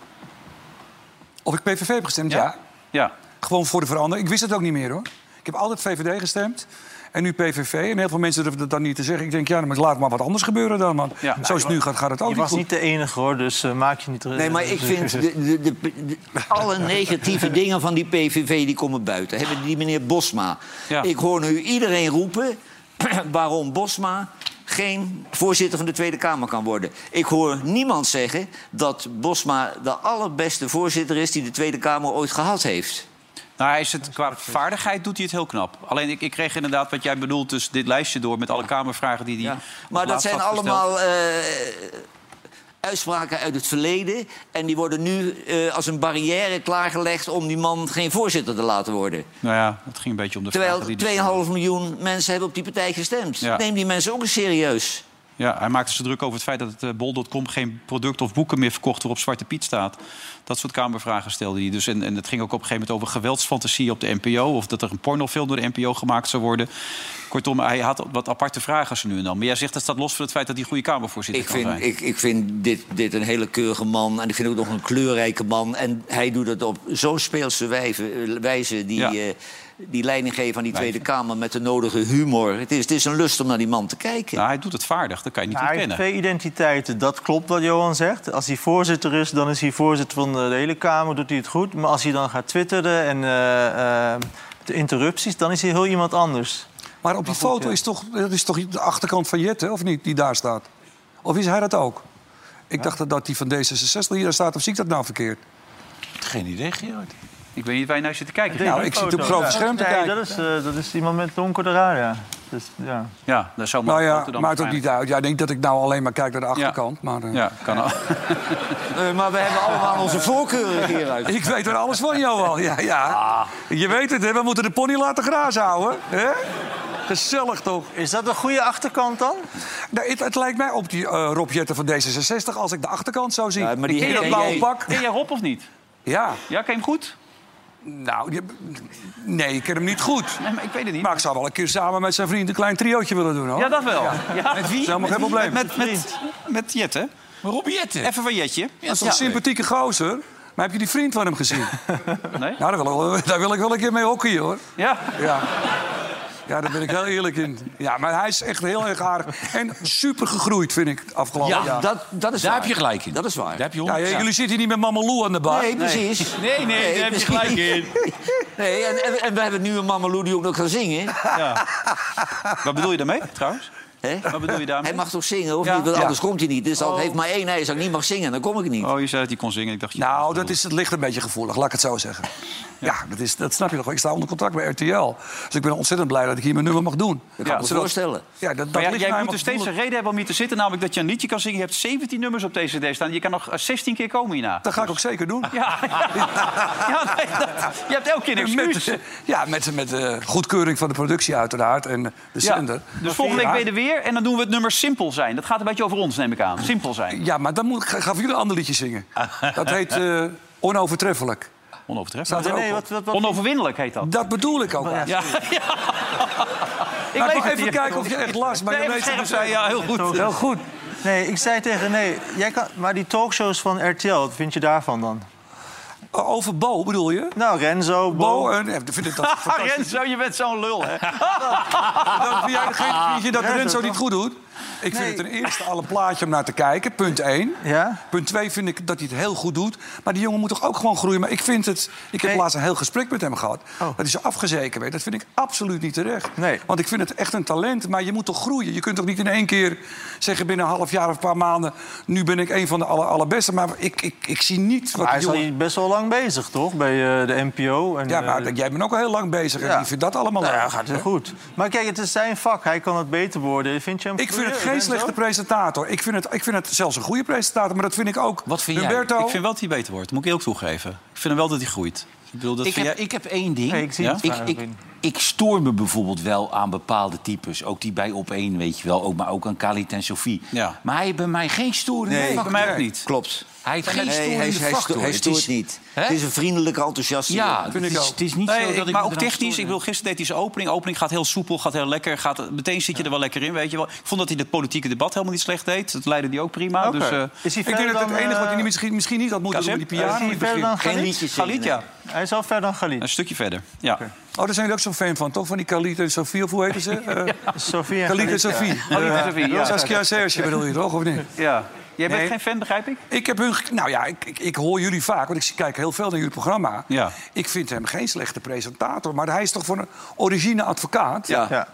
Of ik PVV heb gestemd? ja. Ja. Gewoon voor de verandering. Ik wist het ook niet meer hoor. Ik heb altijd VVD gestemd. En nu PVV. En heel veel mensen durven dat dan niet te zeggen. Ik denk, ja, maar laat maar wat anders gebeuren dan. Want Ja. zoals het nu gaat, gaat het ook Je niet was goed. niet de enige hoor, dus eh, maak je niet... Nee, maar ik vind de, de, de, de- alle negatieve dingen van die PVV die komen buiten. Hebben die meneer Bosma. Ja. Ik hoor nu iedereen roepen (clears throat) waarom Bosma geen voorzitter van de Tweede Kamer kan worden. Ik hoor niemand zeggen dat Bosma de allerbeste voorzitter is die de Tweede Kamer ooit gehad heeft. Nou, hij is het, qua vaardigheid doet hij het heel knap. Alleen ik, ik kreeg inderdaad wat jij bedoelt, dus dit lijstje door met alle Kamervragen die hij. Ja. op het Maar dat laatst zijn had gesteld. allemaal eh, uitspraken uit het verleden. En die worden nu eh, als een barrière klaargelegd om die man geen voorzitter te laten worden. Nou ja, het ging een beetje om de vragen die hij Terwijl 2,5 miljoen mensen hebben op die partij gestemd. Ja. Neem die mensen ook eens serieus. Ja, hij maakte zich druk over het feit dat het eh, bol.com geen producten of boeken meer verkocht waarop Zwarte Piet staat. Dat soort kamervragen stelde hij. Dus en, en het ging ook op een gegeven moment over geweldsfantasie op de NPO. Of dat er een pornofilm door de NPO gemaakt zou worden. Kortom, hij had wat aparte vragen zo nu en dan. Maar jij zegt dat staat los van het feit dat hij een goede Kamervoorzitter Ik kan vind, zijn. ik, ik vind dit, dit een hele keurige man. En ik vind ook nog een kleurrijke man. En hij doet het op zo'n speelse wijve- wijze. Die, Ja. eh, die leiding geven aan die Wijze. Tweede Kamer met de nodige humor. Het is, het is een lust om naar die man te kijken. Nou, hij doet het vaardig, dat kan je niet Nou, hij heeft ontkennen. twee identiteiten. Dat klopt wat Johan zegt. Als hij voorzitter is, dan is hij voorzitter van de, de hele Kamer. Doet hij het goed. Maar als hij dan gaat twitteren en eh, eh, de interrupties... dan is hij heel iemand anders. Maar op die foto is toch, dat is toch de achterkant van Jette, of niet? Die daar staat. Of is hij dat ook? Ik dacht dat- dat die van D66 hier daar staat. Of zie ik dat nou verkeerd? Geen idee, Gerard. Ik weet niet waar je naar zit te kijken. Nou, Gerard. ik zit op een groot Ja. scherm te Nee, kijken. Dat is, eh, dat is iemand met donkere haar, ja. Dus, ja. Ja, dat zou Nou Mark ja, Rotterdam maakt ook niet uit. Jij denkt dat ik nou alleen maar kijk naar de achterkant. Maar, eh, waarschijnlijk- Ja, kan ook. Eh, maar we hebben allemaal onze voorkeuren hieruit. Ik weet er alles van, Johan. Ja, ja. Je weet het, hè? we moeten de pony laten grazen houden. Hè? Gezellig toch? Is dat een goede achterkant dan? Nou, het, het lijkt mij op die eh Rob Jetten van D66 als ik de achterkant zou zien. Ja, maar die in dat ken blauwe jij. pak. Ken jij Rob of niet? Ja, Ja, ken je hem goed? nou, je- nee, ik ken hem niet goed. Nee, maar ik weet het niet. Maar ik zou wel een keer samen met zijn vriend een klein triootje willen doen, hoor. Ja, dat wel. Ja. Met wie? is helemaal geen probleem. Met, met, met Jet, hè? Rob Jetten. Even van Jetje. Dat is een sympathieke gozer. Maar heb je die vriend van hem gezien? (laughs) Nee? Nou, daar wil, ik, daar wil ik wel een keer mee hockeyen, hoor. Ja. Ja. Ja, daar ben ik heel eerlijk in. Ja, maar hij is echt heel erg aardig. En super gegroeid, vind ik, het afgelopen Ja, jaar. Dat, dat is Daar waar. heb je gelijk in. Dat is waar. Daar heb je Ja, honderd- jullie zitten hier niet met Mamalou aan de bar. Nee, precies. Nee, (laughs) nee, daar heb je precies. gelijk in. (laughs) Nee, en, en, en we hebben nu een Mamalou die ook nog kan zingen. Wat bedoel je daarmee, trouwens? Hè? Wat bedoel je daarmee? Hij mag toch zingen, of Ja. niet? Want Ja. anders komt hij niet. Dus dan heeft maar één eis. Als ik niet mag zingen, dan kom ik niet. Oh, je zei dat hij kon zingen. Ik dacht, je- Nou, dat, is, het ligt een beetje gevoelig, laat ik het zo zeggen. Ja, dat, is, dat snap je nog. wel. Ik sta onder contract bij RTL. Dus ik ben ontzettend blij dat ik hier mijn nummer mag doen. Dat kan ik me zodat- voorstellen. Ja, dat, dat Maar jij- ligt mij jij moet dus maar er steeds een gevoelig. reden hebben om hier te zitten. Namelijk dat je een liedje kan zingen. Je hebt 17 nummers op deze cd staan. Je kan nog eh, 16 keer komen hierna. Dat ga ik ook zeker doen. (laughs) Ja, ja nee, dat- je hebt elke keer een excuus. Met, (laughs) ja, met, met de goedkeuring van de productie uiteraard en de Ja. zender. Dus volgende week ben je Ja. er weer en dan doen we het nummer Simpel Zijn. Dat gaat een beetje over ons, neem ik aan. Simpel Zijn. Ja, maar dan moet, ga, ga voor jullie een ander liedje zingen. Dat heet eh, Onovertreffelijk. Onovertreffelijk. Staat er Nee, ook op. wat, wat, wat- Onoverwinnelijk heet dat. Dat bedoel ik ook. Ja. eigenlijk. Ja, ja. Ik Nou, lees het ik wou even hier. kijken of je echt last maar Nee, je even weet scherp het zijn. Ja, heel goed. Heel goed. Nee, ik zei tegen nee. Jij kan, maar die talkshows van RTL, wat vind je daarvan dan? Oh, Over Bo bedoel je? Nou, Renzo, Bo... Bo, en, eh, vind ik dat (laughs) Ah, fantastisch. Renzo, je bent zo'n lul, hè? Dan vind jij (laughs) degene- vind je dat Renzo, Renzo niet toch? goed doet? Ik vind het ten eerste al een plaatje om naar te kijken, punt 1. Ja? Punt 2 vind ik dat hij het heel goed doet. Maar die jongen moet toch ook gewoon groeien. Maar ik vind het. Ik heb Nee. laatst een heel gesprek met hem gehad. Oh. Dat hij zo afgezeken werd. Dat vind ik absoluut niet terecht. Nee. Want ik vind het echt een talent. Maar je moet toch groeien. Je kunt toch niet in één keer zeggen binnen een half jaar of een paar maanden. Nu ben ik een van de aller, allerbeste. Maar ik, ik, ik zie niet wat Maar hij die is jongen. al best wel lang bezig, toch? Bij eh, de NPO. En, Ja, maar eh, jij bent ook al heel lang bezig. En ja. ik vind dat allemaal nou ja, leuk. gaat heel goed. Maar kijk, het is zijn vak. Hij kan het beter worden. Vind je hem Ik vind goeie, het geen Renzo? slechte presentator. Ik vind, het, ik vind het zelfs een goede presentator. Maar dat vind ik ook. Wat vind jij? Humberto, Ik vind wel dat hij beter wordt, moet ik ook toegeven. Ik vind hem wel dat hij groeit. Ik bedoel, dat ik, heb, vind jij... ik heb één ding. Nee, ik zie het ik, vaak, ik, Wim. ik stoor me bijvoorbeeld wel aan bepaalde types. Ook die bij op één, weet je wel. Ook, maar ook aan Khalid en Sophie. Ja. Maar hij heeft bij mij geen storende Nee, factor. bij mij ook niet. Klopt. Hij heeft geen Nee, hij, hij, storende hij, sto- factor. hij Het stoort is- niet. Hè? Het is een vriendelijke enthousiast. Ja, Vind het ik is, ook. het is niet Nee, zo dat ik- ik maar me ook eraan technisch. stoor. Ik bedoel, gisteren deed hij zijn opening. Opening gaat heel soepel, gaat heel lekker. Gaat, meteen zit je er wel lekker in, weet je wel. Ik vond dat hij het politieke debat helemaal niet slecht deed. Dat leidde hij ook prima. Oké. Dus, eh, is hij Nou, Ik denk verder dat het dan, enige wat eh, je niet- misschien, misschien niet had moeten Kazem? doen met die Ja, piano. is in hij het verder begin. dan Geen Galit? liedjes zingen, Galit, ja. nee. Hij is wel verder dan Galit. Een stukje verder. Ja. Oh, daar zijn jullie ook zo'n fan van, toch? Van die Khalid en Sofie, of hoe heette ze? Eh, Sofie en Khalid en Galit. Sofie. Khalid en Eh, Sofie, ja. Saskia Serge bedoel je toch, of niet? ja. Jij bent Nee. geen fan, begrijp ik? Ik heb hun... ge- Nou ja, ik, ik, ik hoor jullie vaak, want ik kijk heel veel naar jullie programma. Ja. Ik vind hem geen slechte presentator. Maar hij is toch van een origine advocaat? Ja.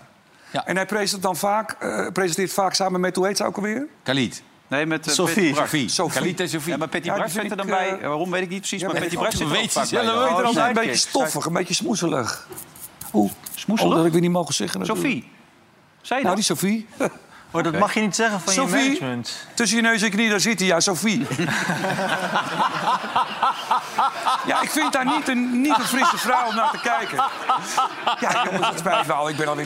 En hij presenteert dan vaak, eh, presenteert vaak samen met, hoe heet ze ook alweer? Khalid. Nee, met eh, Sophie. Petty Brak. Sophie. Sophie. Khalid en Sophie. Ja, maar Petty Ja, die Brak zit vind er dan ik, bij. eh, Waarom weet ik niet precies, maar maar Petty ik- Brak zit er ook weet ze vaak bij. zelf Hij Oh, is er altijd een sidekick. beetje stoffig, een beetje smoezelig. Oeh, Smoezelig? Oh, dat had ik weer niet mogen zeggen. natuurlijk. Sophie. Zei je dat? Nou, die Sophie. (laughs) Maar Oh, dat mag je niet zeggen van Sophie? je management. Tussen je neus en knie, daar zit hij. Ja, Sophie. (laughs) ja, ik vind daar niet een, niet een frisse vrouw om naar te kijken. Ja, jongens, het spijt me al. Ik ben alweer...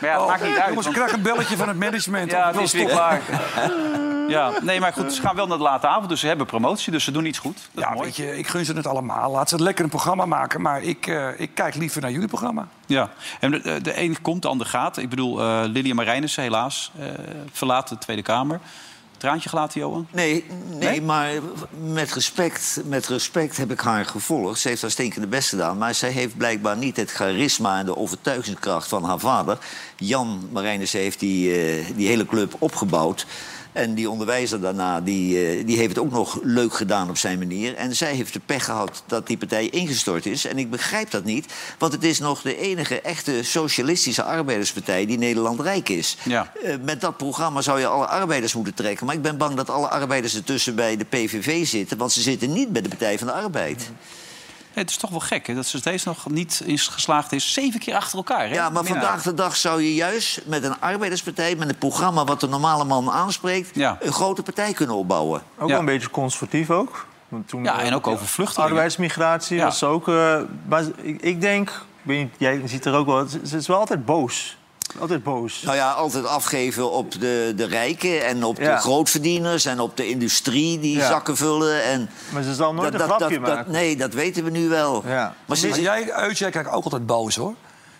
Maar ja, Oh, het maakt niet uit. jongens, ik want- krijg een belletje van het management. Ja, Of het wil is weer stoppen. klaar. (laughs) Ja, nee, maar goed, ze gaan wel naar de late avond, dus ze hebben promotie, dus ze doen iets goed. Dat is Ja, mooi. weet je, ik gun ze het allemaal. Laat ze lekker een programma maken. Maar ik, eh, ik kijk liever naar jullie programma. Ja, en de, de een komt, de ander gaat. Ik bedoel, eh Lilian Marijnissen helaas eh, verlaat de Tweede Kamer. Traantje gelaten, Johan? Nee, nee, maar met respect, met respect heb ik haar gevolgd. Ze heeft haar stinkende best gedaan. Maar zij heeft blijkbaar niet het charisma en de overtuigingskracht van haar vader. Jan Marijnissen heeft die, eh, die hele club opgebouwd. En die onderwijzer daarna, die, eh, die heeft het ook nog leuk gedaan op zijn manier. En zij heeft de pech gehad dat die partij ingestort is. En ik begrijp dat niet, want het is nog de enige echte socialistische arbeiderspartij die Nederland rijk is. Ja. Eh, met dat programma zou je alle arbeiders moeten trekken. Maar ik ben bang dat alle arbeiders ertussen bij de PVV zitten. Want ze zitten niet bij de Partij van de Arbeid. Nee, het is toch wel gek hè, dat ze steeds nog niet is geslaagd is. Zeven keer achter elkaar. Hè? Nou, Ja, maar vandaag de dag zou je juist met een arbeiderspartij... met een programma wat de normale man aanspreekt... Ja. een grote partij kunnen opbouwen. Ook Ja. wel een beetje conservatief ook. Want Toen, Ja, eh, en ook over vluchtelingen. Arbeidsmigratie Ja. was ze ook... eh, maar ik, ik denk... ik weet niet, jij ziet er ook wel... Ze ze is wel altijd boos. Altijd boos. Nou ja, altijd afgeven op de, de rijken en op Ja. de grootverdieners... en op de industrie die Ja. zakken vullen. En Maar ze zal nooit een grapje dat- maken. Nee, dat weten we nu wel. Ja. Maar ze Maar is jij, Eus, jij kijkt ook altijd boos, hoor.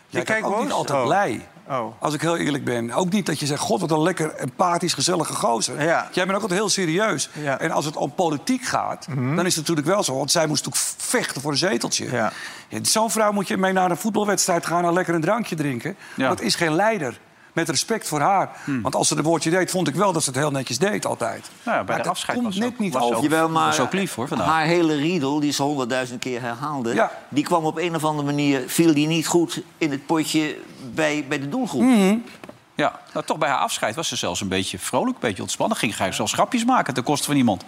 Jij Ik kijk kijkt ook boos? niet altijd Oh. blij. Oh. Als ik heel eerlijk ben. Ook niet dat je zegt, god, wat een lekker empathisch, gezellige gozer. Ja. Jij bent ook altijd heel serieus. Ja. En als het om politiek gaat, dan is het natuurlijk wel zo. Want zij moest natuurlijk vechten voor een zeteltje. Ja. Ja, Zo'n vrouw moet je mee naar een voetbalwedstrijd gaan... en lekker een drankje drinken. Ja. Dat is geen leider. Met respect voor haar. Want als ze een woordje deed, vond ik wel dat ze het heel netjes deed altijd. Nou ja, bij Maar de dat afscheid komt was ze net ook- niet was ze over. ook- Jawel, maar Dat is ook lief, hoor, vandaag. haar hele riedel, die ze honderdduizend keer herhaalde... Ja. die kwam op een of andere manier, viel die niet goed in het potje bij, bij de doelgroep. Ja, nou, toch bij haar afscheid was ze zelfs een beetje vrolijk, een beetje ontspannen. Ging hij zelfs grapjes maken ten koste van iemand.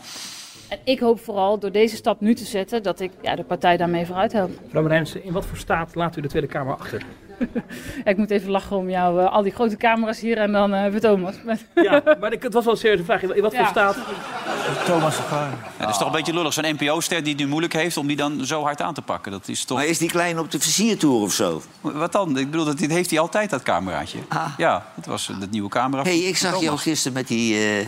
En ik hoop vooral door deze stap nu te zetten dat ik ja, de partij daarmee vooruit help. Mevrouw Marijnissen, in wat voor staat laat u de Tweede Kamer achter? Ja, (laughs) ik moet even lachen om jou, eh, al die grote camera's hier en dan eh met Thomas. Met- Ja, maar ik, het was wel een serieuze vraag. In wat Ja. voor staat... Thomas van Garen. Ja, dat is toch een beetje lullig. Zo'n NPO-ster die het nu moeilijk heeft om die dan zo hard aan te pakken. Dat is toch... Maar is die klein op de versiertour of zo? Wat dan? Ik bedoel, dat dit heeft hij altijd, dat cameraatje. Ah. Ja, dat was eh, dat nieuwe camera. Hé, hey, van ik zag jou Thomas. gisteren met die, eh,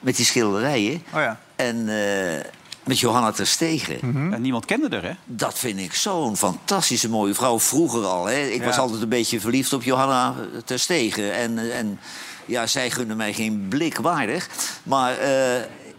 met die schilderijen. Oh ja. En eh, met Johanna ter Stegen. Ja, niemand kende er, hè? Dat vind ik zo'n fantastische mooie vrouw. Vroeger al, hè. Ik was altijd een beetje verliefd op Johanna ter Stegen. En, eh, en ja, zij gunde mij geen blik waardig. Maar... eh,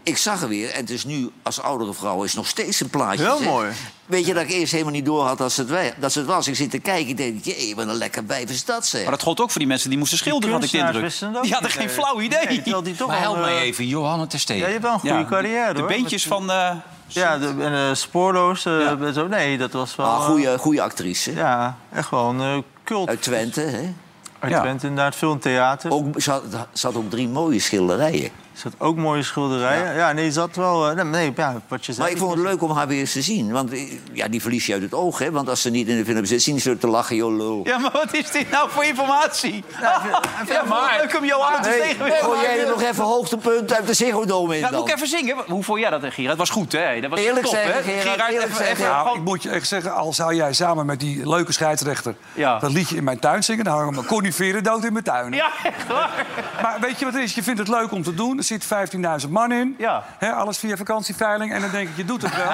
ik zag haar weer, en het is nu als oudere vrouw is nog steeds een plaatje. Heel zeg. mooi. Weet je dat ik eerst helemaal niet door had dat ze het, wij- dat ze het was? Ik zit te kijken, ik denk, jee, wat een lekker wijf is dat, zeg. Maar dat gold ook voor die mensen die moesten schilderen, had ik de indruk. kunstenaars wisten het ook Die hadden niet, geen eh. flauw idee. Nee, terwijl die toch Maar al, help mij eh, even, Johanna ter Ja, je Stegen. hebt wel een goede Ja, carrière, de, hoor. De beentjes Met- van... eh, Ja, de, en eh, spoorloos. eh, en zo. Nee, dat was wel... Ah, eh, goeie, goeie actrice. Ja, echt wel een eh, cult. Uit Twente, hè? Uit Ja. Twente, inderdaad. Veel in theater. Ook, ze, had, ze had ook drie mooie schilderijen. Er zat ook mooie schilderijen. Ja, nee, zat wel... eh, nee, nee, ja, wat je zei. Maar ik vond het leuk om haar weer eens te zien. Want eh, ja, die verlies je uit het oog, hè? Want als ze niet in de film zit, zien ze te lachen, joh, lul. Ja, maar wat is dit nou voor (laughs) informatie? Ja, maar... Leuk om Johan te tegen Gooi jij er nog even hoogtepunt uit de Ziggo Dome in Ja, moet dan? ik even zingen? Hoe vond jij dat, Gerard? Het was goed, hè? Dat was Eerlijk top, zeggen, hè? Gerard, eerlijk even, even zeggen. Nou, ik gewoon- moet je echt zeggen, al zou jij samen met die leuke scheidsrechter... Ja. dat liedje in mijn tuin zingen... dan hangen we coniferen dood in mijn tuin. Ja, echt waar. Maar weet je wat het is? Je vindt het leuk om te doen. Dan zit 15.000 man in. Ja. Hè, alles via vakantieveiling. En dan denk ik, je doet het (laughs) wel.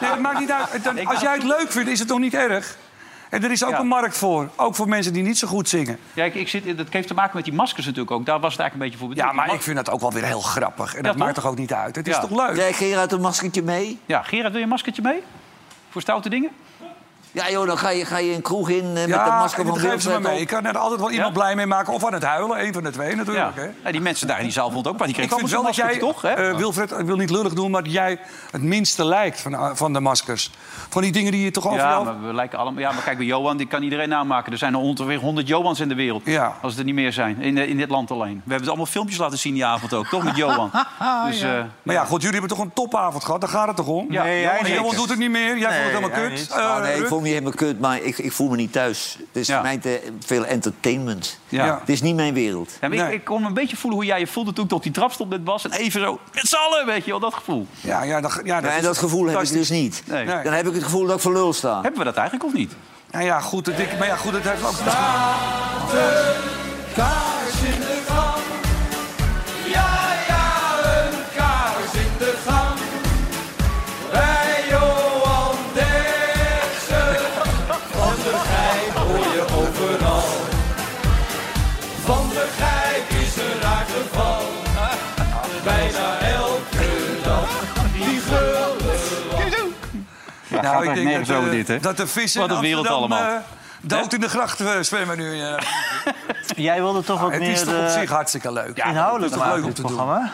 nee, het maakt niet uit. Dan- als jij het leuk vindt, is het toch niet erg? En er is ook Ja. een markt voor. Ook voor mensen die niet zo goed zingen. Ja, ik, ik zit, dat heeft te maken met die maskers natuurlijk ook. Daar was het eigenlijk een beetje voor bedoeld. Ja, maar Die ik vind dat ook wel weer heel grappig. En dat toch? maakt toch ook niet uit? Het is Ja. toch leuk? Jij, Gerard, een maskertje mee? mas- Ja, Gerard, wil je een maskertje mee? Voor stoute dingen? Ja, joh, dan ga je, ga je een kroeg in eh, met Ja, een masker dat van geven ze me Wilfred mee. Ik op. kan er altijd wel iemand Ja? blij mee maken. Of aan het huilen, een van de twee natuurlijk. Hè? Ja, die mensen daar in die zaal vonden ook, maar die Ik kregen vind allemaal wel zo'n dat jij, maskertje, toch? Hè? eh, Wilfred, ik wil niet lullig doen, maar dat jij het minste lijkt van, eh, van de maskers. Van die dingen die je toch ja, overal... maar we lijken allemaal. Ja, maar kijk, bij Johan, die kan iedereen namaken. Er zijn er ongeveer 100 Johans in de wereld. Ja. Als er niet meer zijn, in, eh, in dit land alleen. We hebben het allemaal filmpjes laten zien die avond ook, (laughs) toch? Met Johan. Dus, eh, Maar ja, goed, jullie hebben toch een topavond gehad? Daar gaat het toch om? Ja, Nee, hij en niet. Johan doet het niet meer. Jij Nee, vond het hij helemaal niet. kut. Ah, Eh, nee, ik Ruud? voel me niet helemaal kut, maar ik, ik voel me niet thuis. Het is Ja. voor mij te veel entertainment. ja. Ja. Het is niet mijn wereld. Ja, maar Nee. ik, ik kon een beetje voelen hoe jij je voelde toen ik op die trap stond met Bas. En even zo, met z'n allen, weet je wel, dat gevoel. Ja, ja, dat, ja, Ja, is en dat gevoel heb ik fantastisch. dus niet. Nee. Nee. Dan heb ik het gevoel dat ik voor lul sta. Hebben we dat eigenlijk of niet? Nou ja, goed, het, ik, maar ja, goed, het heeft ook... Ja, Nou, gaat ik er denk nergens dat, over eh, dit, hè? dat de vissen Wat een wereld allemaal. eh, dood in de gracht eh, zwemmen nu. ja. Jij wilde toch wat Ah, het meer is toch op eh, zich hartstikke leuk. inhoudelijk Het is toch maken, leuk om dit te doen. programma.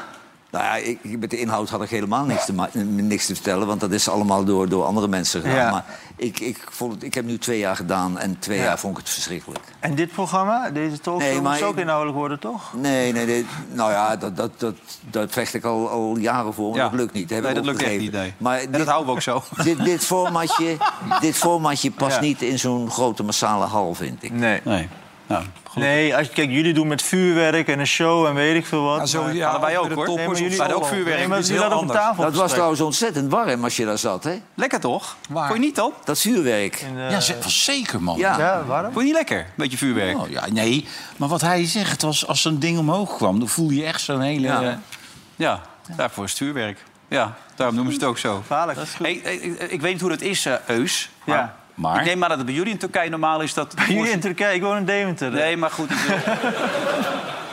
Nou ja, ik, ik- met de inhoud had ik helemaal niks te, ma- eh, niks te vertellen. Want dat is allemaal door, door andere mensen gedaan. Ja. Maar ik, ik, vond het, ik heb nu twee jaar gedaan en twee jaar vond ik het verschrikkelijk. En dit programma, deze talkshow, Nee, maar moest ook ik- inhoudelijk worden, toch? Nee, nee, nee. Nou ja, dat, dat, dat, dat vecht ik al, al jaren voor. Maar Ja. dat lukt niet. Heb Nee, ik dat lukt echt opgegeven. niet, nee. Maar En dit- dat houden we ook zo. (laughs) Dit, dit, formatje, dit formatje past Ja. niet in zo'n grote massale hal, vind ik. Nee. Nee. Nou, goed. Nee, als, je- kijk, jullie doen met vuurwerk en een show en weet ik veel wat. Ja, zo, maar- ja, wij ook, de hoor. toppers Nee, maar of jullie zo. hadden ook vuurwerk. Nee, maar Dit is jullie heel hadden op anders. tafel Dat was gestreken. trouwens ontzettend warm als je daar zat, hè? Lekker toch? Vond je niet dan? Dat zuurwerk. Ja, ze- was zeker, man. Ja. Ja, waarom? Vond je niet lekker? Beetje vuurwerk. Oh, ja, nee, maar wat hij zegt, was als zo'n ding omhoog kwam... dan voel je echt zo'n hele... Ja. eh, Ja, daarvoor is het vuurwerk. Ja, daarom noemen ze het ook zo. Gevaarlijk. Dat is goed. Hey, hey, ik, ik weet niet hoe dat is, eh, Eus. Ja. Maar, Maar? Ik neem maar dat het bij jullie in Turkije normaal is dat... Jullie in Turkije, ik woon in Deventer. dus- hè? Nee, maar goed. ik bedoel-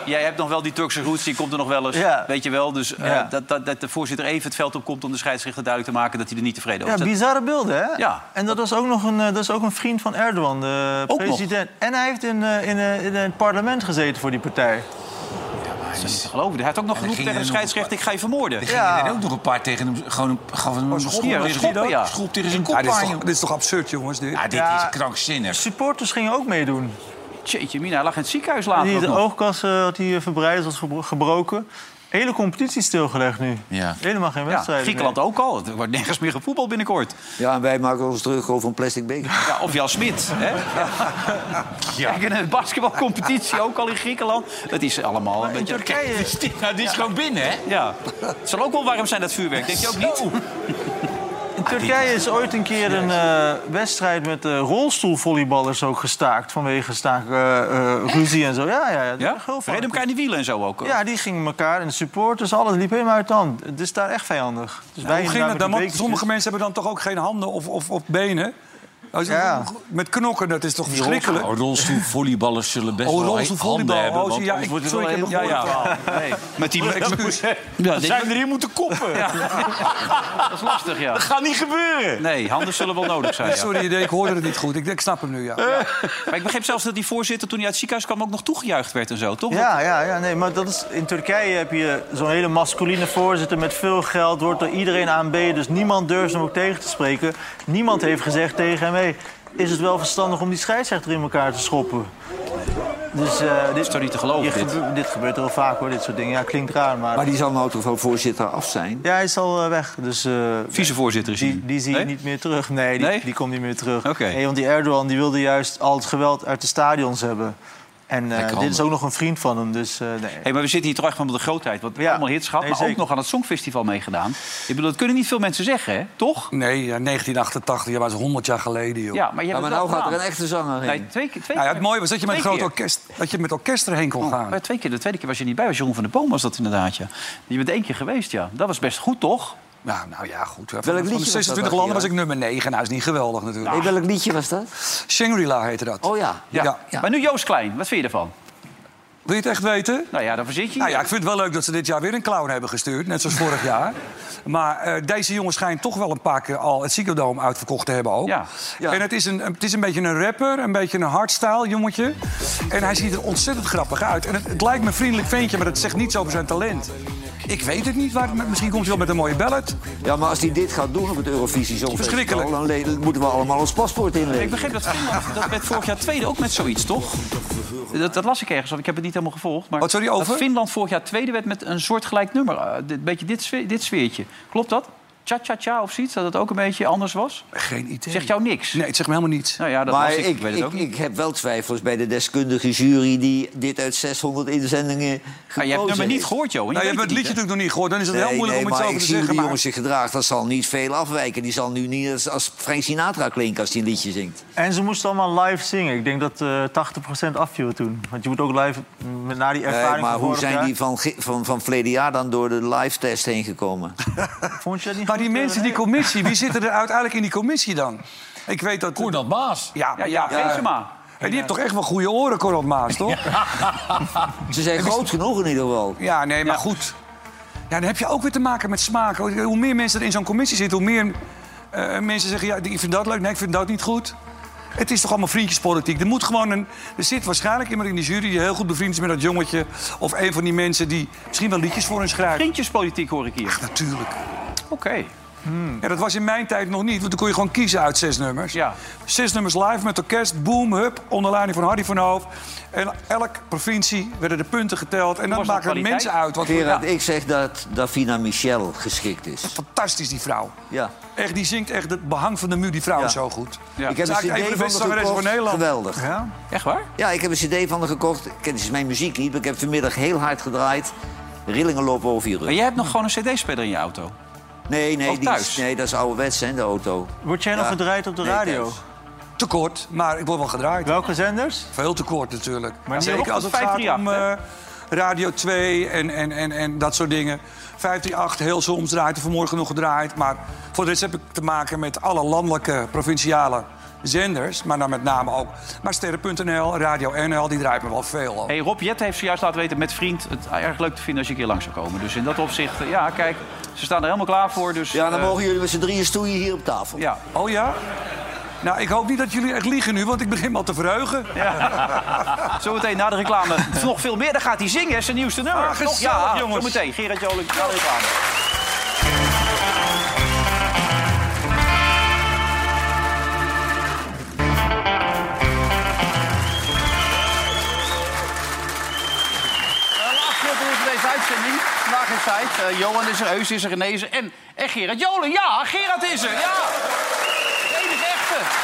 Jij hebt nog wel die Turkse roots, die komt er nog wel eens. Ja. Weet je wel, dus eh, Ja. dat, dat, dat de voorzitter even het veld op komt... om de scheidsrechter duidelijk te maken dat hij er niet tevreden Ja, over is. Dat- bizarre beelden, hè? Ja. En dat was ook nog een, eh, dat is ook een vriend van Erdogan, de Ook nog? president. En hij heeft in, eh, in, eh, in het parlement gezeten voor die partij. dat is niet te geloven. Hij had ook nog er genoeg gingen tegen de er nog scheidsrechter... ik ga je vermoorden. Er Ja, gingen Ja. er ook nog een paar tegen hem. Gewoon een, gaf hem een schop, Oh, ja, tegen- schoppen, ja. schop tegen zijn kop Ja, dit, is aan, toch, joh. dit is toch absurd, jongens? Dit? Ja, dit Ja. is krankzinnig. Supporters gingen ook meedoen. Tjeetje, Mina, hij lag in het ziekenhuis later Die, ook de nog. oogkas eh, had hij eh, verbreid, was gebro- gebroken. Hele competitie stilgelegd nu. Ja. Helemaal geen Ja, wedstrijd. Griekenland ook al. Er wordt nergens meer gevoetbald binnenkort. Ja, en wij maken ons druk over een plastic beker. Ja, of Jan Smit. (laughs) Hè? Ja. Kijk, in een basketbalcompetitie ook al in Griekenland. Het is allemaal een beetje... Turkije. Dit is, dit- nou, dit is gewoon binnen, hè? Ja. Het zal ook wel warm zijn, dat vuurwerk. Denk je ook niet? In Turkije is ooit een keer een eh, wedstrijd met eh, rolstoelvolleyballers ook gestaakt. Vanwege staak, eh, eh, ruzie en zo. Ja, ja, ja. Ja? Heel Reden elkaar in de wielen en zo ook. Ja, die gingen elkaar en de supporters, alles liep helemaal uit de hand. Het is daar echt vijandig. Dus wij Hoe ging inderdaad het dan? met Want die sommige bekertjes. mensen hebben dan toch ook geen handen of, of, of benen? Als- Ja. Met knokken, dat is toch verschrikkelijk? Oh, rolstoelvolleyballers zullen best Oh, wel rolstoelvolleybal. handen hebben. Oh, want zie- ja, anders ik- wordt het sorry, wel ik heb heel- het ja, ja. Nee. Met Oh, die... Excuus. Ja, dit- er hier moeten koppen. dat is lastig, ja. gaat niet gebeuren. Nee, handen zullen wel nodig zijn. Ja. Sorry, ik hoorde het niet goed. Ik, ik snap hem nu, ja. Maar ik begreep zelfs dat die voorzitter toen hij uit het ziekenhuis kwam... ook nog toegejuicht werd en zo, toch? Ja, ja, ja, nee, maar dat is, in Turkije heb je zo'n hele masculine voorzitter met veel geld, wordt door iedereen aanbeden, dus niemand durft hem ook tegen te spreken. Niemand heeft gezegd tegen hem, hey, is het wel verstandig om die scheidsrechter in elkaar te schoppen? Dus eh, dit is toch niet te geloven, je dit? gebe- dit gebeurt heel vaak hoor, dit soort dingen. Ja, klinkt raar, maar, Maar die zal nou toch van voorzitter af zijn? ja, hij is al eh, weg. Dus eh, Vicevoorzitter is hij. Die, die zie je Mm. Nee? niet meer terug. Nee, die, Nee? die komt niet meer terug. Oké. Nee, want die Erdogan die wilde juist al het geweld uit de stadions hebben. En eh, dit is handig. ook nog een vriend van hem, dus eh, nee. Hey, maar we zitten hier toch echt van de grootheid. Want Ja. allemaal hits gehad, Nee, maar ook zeker. nog aan het Songfestival meegedaan. Ik bedoel, dat kunnen niet veel mensen zeggen, hè? toch? Nee, ja, 1988, ja, maar dat is 100 jaar geleden, joh. Ja, maar je Ja, hebt maar het nou wel gaat er een gedaan. echte zanger heen. Nee, twee, keer- twee, Nou ja, keer- het mooie was dat je met, een twee groot keer. orkest, dat je met orkest erheen kon gaan. Maar twee keer, de tweede keer was je niet bij, was Jeroen van der Boom was dat inderdaad, ja. Je bent één keer geweest, ja. Dat was best goed, toch? Nou, nou ja, goed. Welk van liedje was de dat 26 dan, landen was ik Gerard? nummer 9. Nou, is niet geweldig natuurlijk. Nee, welk liedje was dat? Shangri-La heette dat. Oh ja. Ja. Maar nu Joost Klein, wat vind je ervan? Wil je het echt weten? Nou ja, dan verzit je. Nou ja, ik vind het wel leuk dat ze dit jaar weer een clown hebben gestuurd. Net zoals vorig jaar. Maar eh, deze jongen schijnt toch wel een paar keer al het Psychodome uitverkocht te hebben ook. Ja. En het is, een, het is een beetje een rapper, een beetje een hardstyle jongetje. En hij ziet er ontzettend grappig uit. En het, het lijkt me een vriendelijk ventje, maar dat zegt niets over zijn talent. Ik weet het niet, waar, misschien komt hij wel met een mooie ballet. Ja, maar als hij dit gaat doen op het Eurovisie Songfestival... Verschrikkelijk. dan le- moeten we allemaal ons paspoort Ik inleveren. begreep dat Finland, dat werd vorig jaar tweede ook met zoiets, toch? Dat, dat las ik ergens, want ik heb het niet helemaal gevolgd. Maar Wat, sorry, over? Dat Finland vorig jaar tweede werd met een soortgelijk nummer. Eh, dit- Een beetje dit, sfeer- dit sfeertje. Klopt dat? Cha-cha-cha of zoiets? Dat het ook een beetje anders was? Geen idee. Zegt jou niks? Nee, het zegt me helemaal niets. Nou ja, dat maar las ik. ik, Ik weet het ook ik, niet. ik heb wel twijfels bij de deskundige jury... die dit uit 600 inzendingen Maar gekozen Ah, je hebt het nummer niet heeft. gehoord, joh. en Nou, je weet hebt het niet, liedje hè? natuurlijk nog niet gehoord. Dan is het heel Nee, moeilijk nee, om iets maar over ik te zie hoe zeggen. die Maar... jongen zich gedraagt. Dat zal niet veel afwijken. Die zal nu niet als, als Frank Sinatra klinken als hij een liedje zingt. En ze moesten allemaal live zingen. Ik denk dat eh 80% afviel toen. Want je moet ook live, mm, na die ervaring Nee, Eh, maar van hoe vorig zijn jaar- die van, ge- van, van verleden jaar dan door de live-test heen (laughs) gekomen? Vond je dat niet maar goed, die eh, mensen, die René? commissie, wie zitten er uiteindelijk in die commissie dan? Ik weet dat... Koerdant Maas. Ja, maar Ja, ja, ja, Benzema. Hey, die heeft toch echt wel goede oren, Corot Maas, toch? Ja, Ze zijn groot genoeg in ieder geval. nee, maar goed. Ja, dan heb je ook weer te maken met smaak. Hoe meer mensen er in zo'n commissie zitten, hoe meer eh, mensen zeggen... ja, ik vind dat leuk, nee, ik vind dat niet goed. Het is toch allemaal vriendjespolitiek. Er, moet gewoon een, er zit waarschijnlijk iemand in de jury die heel goed bevriend is met dat jongetje... of een van die mensen die misschien wel liedjes voor hun schrijft. Vriendjespolitiek hoor ik hier. Natuurlijk. Oké. Hmm. Ja, dat was in mijn tijd nog niet, want toen kon je gewoon kiezen uit zes nummers. Ja. Zes nummers live met orkest, boom, hup, onder leiding van Hardy van Hoof. En elke provincie werden de punten geteld. En dan was dat maken de kwaliteit? mensen uit. Wat Gerard, ja, ik zeg dat Davina Michel geschikt is. fantastisch, die vrouw. Ja. Echt, die zingt echt het behang van de muur, die vrouw Ja. is zo goed. Ja. Ik heb Dat is een eigenlijk een cd van de beste van haar zangeressen van gekocht. Nederland. Geweldig. Ja? Echt waar? Ja, ik heb een cd van haar gekocht. Ik ken dus mijn muziek niet, maar ik heb vanmiddag heel hard gedraaid. Rillingen lopen over je Maar rug. jij hebt nog gewoon een cd-speler in je auto. Nee, nee, Ook die is- thuis? nee dat is ouderwets, hè, de auto. Word jij nog Ja. gedraaid op de Nee, radio? thuis. Te kort, maar ik word wel gedraaid. Welke zenders? Veel te kort natuurlijk. Maar Zeker ook als het tot gaat om 538, eh, Radio 2 en, en, en, en dat soort dingen. 538 heel soms draait, vanmorgen nog gedraaid. Maar voor de rest heb ik te maken met alle landelijke, provinciale zenders. Maar dan met name ook. Maar Sterren.nl, Radio NL, die draait me wel veel. Op. Hey, Rob Jet heeft zojuist laten weten met vriend het erg leuk te vinden als je een keer langs zou komen. Dus in dat opzicht, eh, ja, kijk, ze staan er helemaal klaar voor. Dus, Ja, dan eh, mogen jullie met z'n drieën stoeien hier op tafel. ja. Oh ja? Nou, ik hoop niet dat jullie echt liegen nu, want ik begin me al te verheugen. Zometeen na de reclame nog veel meer. Dan gaat hij zingen, hè, zijn nieuwste nummer. Ah, nog, gezellig, ja, jongens. Zometeen, Gerard Joling, na de reclame. Eh, laatste onderwerp van deze uitzending. Vandaag is tijd. Eh, Johan is er, Heus is er, René is er en, en Gerard Joling. Ja, Gerard is er. Ja, de enige echte. eh,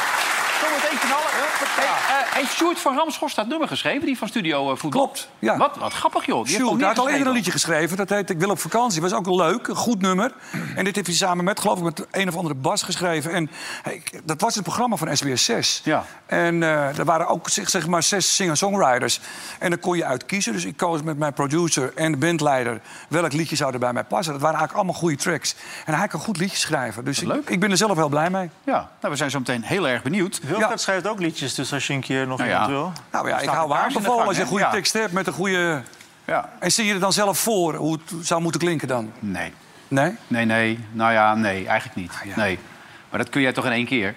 Zometeen knallen. Hey, eh, heeft Sjoerd van Ramschorst dat nummer geschreven, die van Studio eh, Voetbal? Klopt, ja. Wat, wat grappig, joh. Die heeft Sjoerd, hij had al eerder neergeschreven. een liedje geschreven. Dat heet Ik wil op vakantie. Was ook wel leuk, een goed nummer. En dit heeft hij samen met, geloof ik, met een of andere Bas geschreven. En hey, dat was het programma van SBS 6. Ja. En eh er waren ook zeg, zeg maar zes singer-songwriters. En daar kon je uit kiezen. Dus ik koos met mijn producer en de bandleider... welk liedje zou er bij mij passen. Dat waren eigenlijk allemaal goede tracks. En hij kan goed liedjes schrijven. Dus ik, ik ben er zelf heel blij mee. Ja, nou, we zijn zo meteen heel erg benieuwd. Wilfred Ja. schrijft ook liedjes, dus als je een keer nog Nou iemand ja. wil. Nou ja, ik staat hou een haar kaars in de bevolen gang, als je een hè? goede Ja. tekst hebt met een goede... Ja. En zie je er dan zelf voor hoe het zou moeten klinken dan? Nee. Nee? Nee, nee. Nou Ah, ja, nee. Eigenlijk niet. Nee. Maar dat kun jij toch in één keer?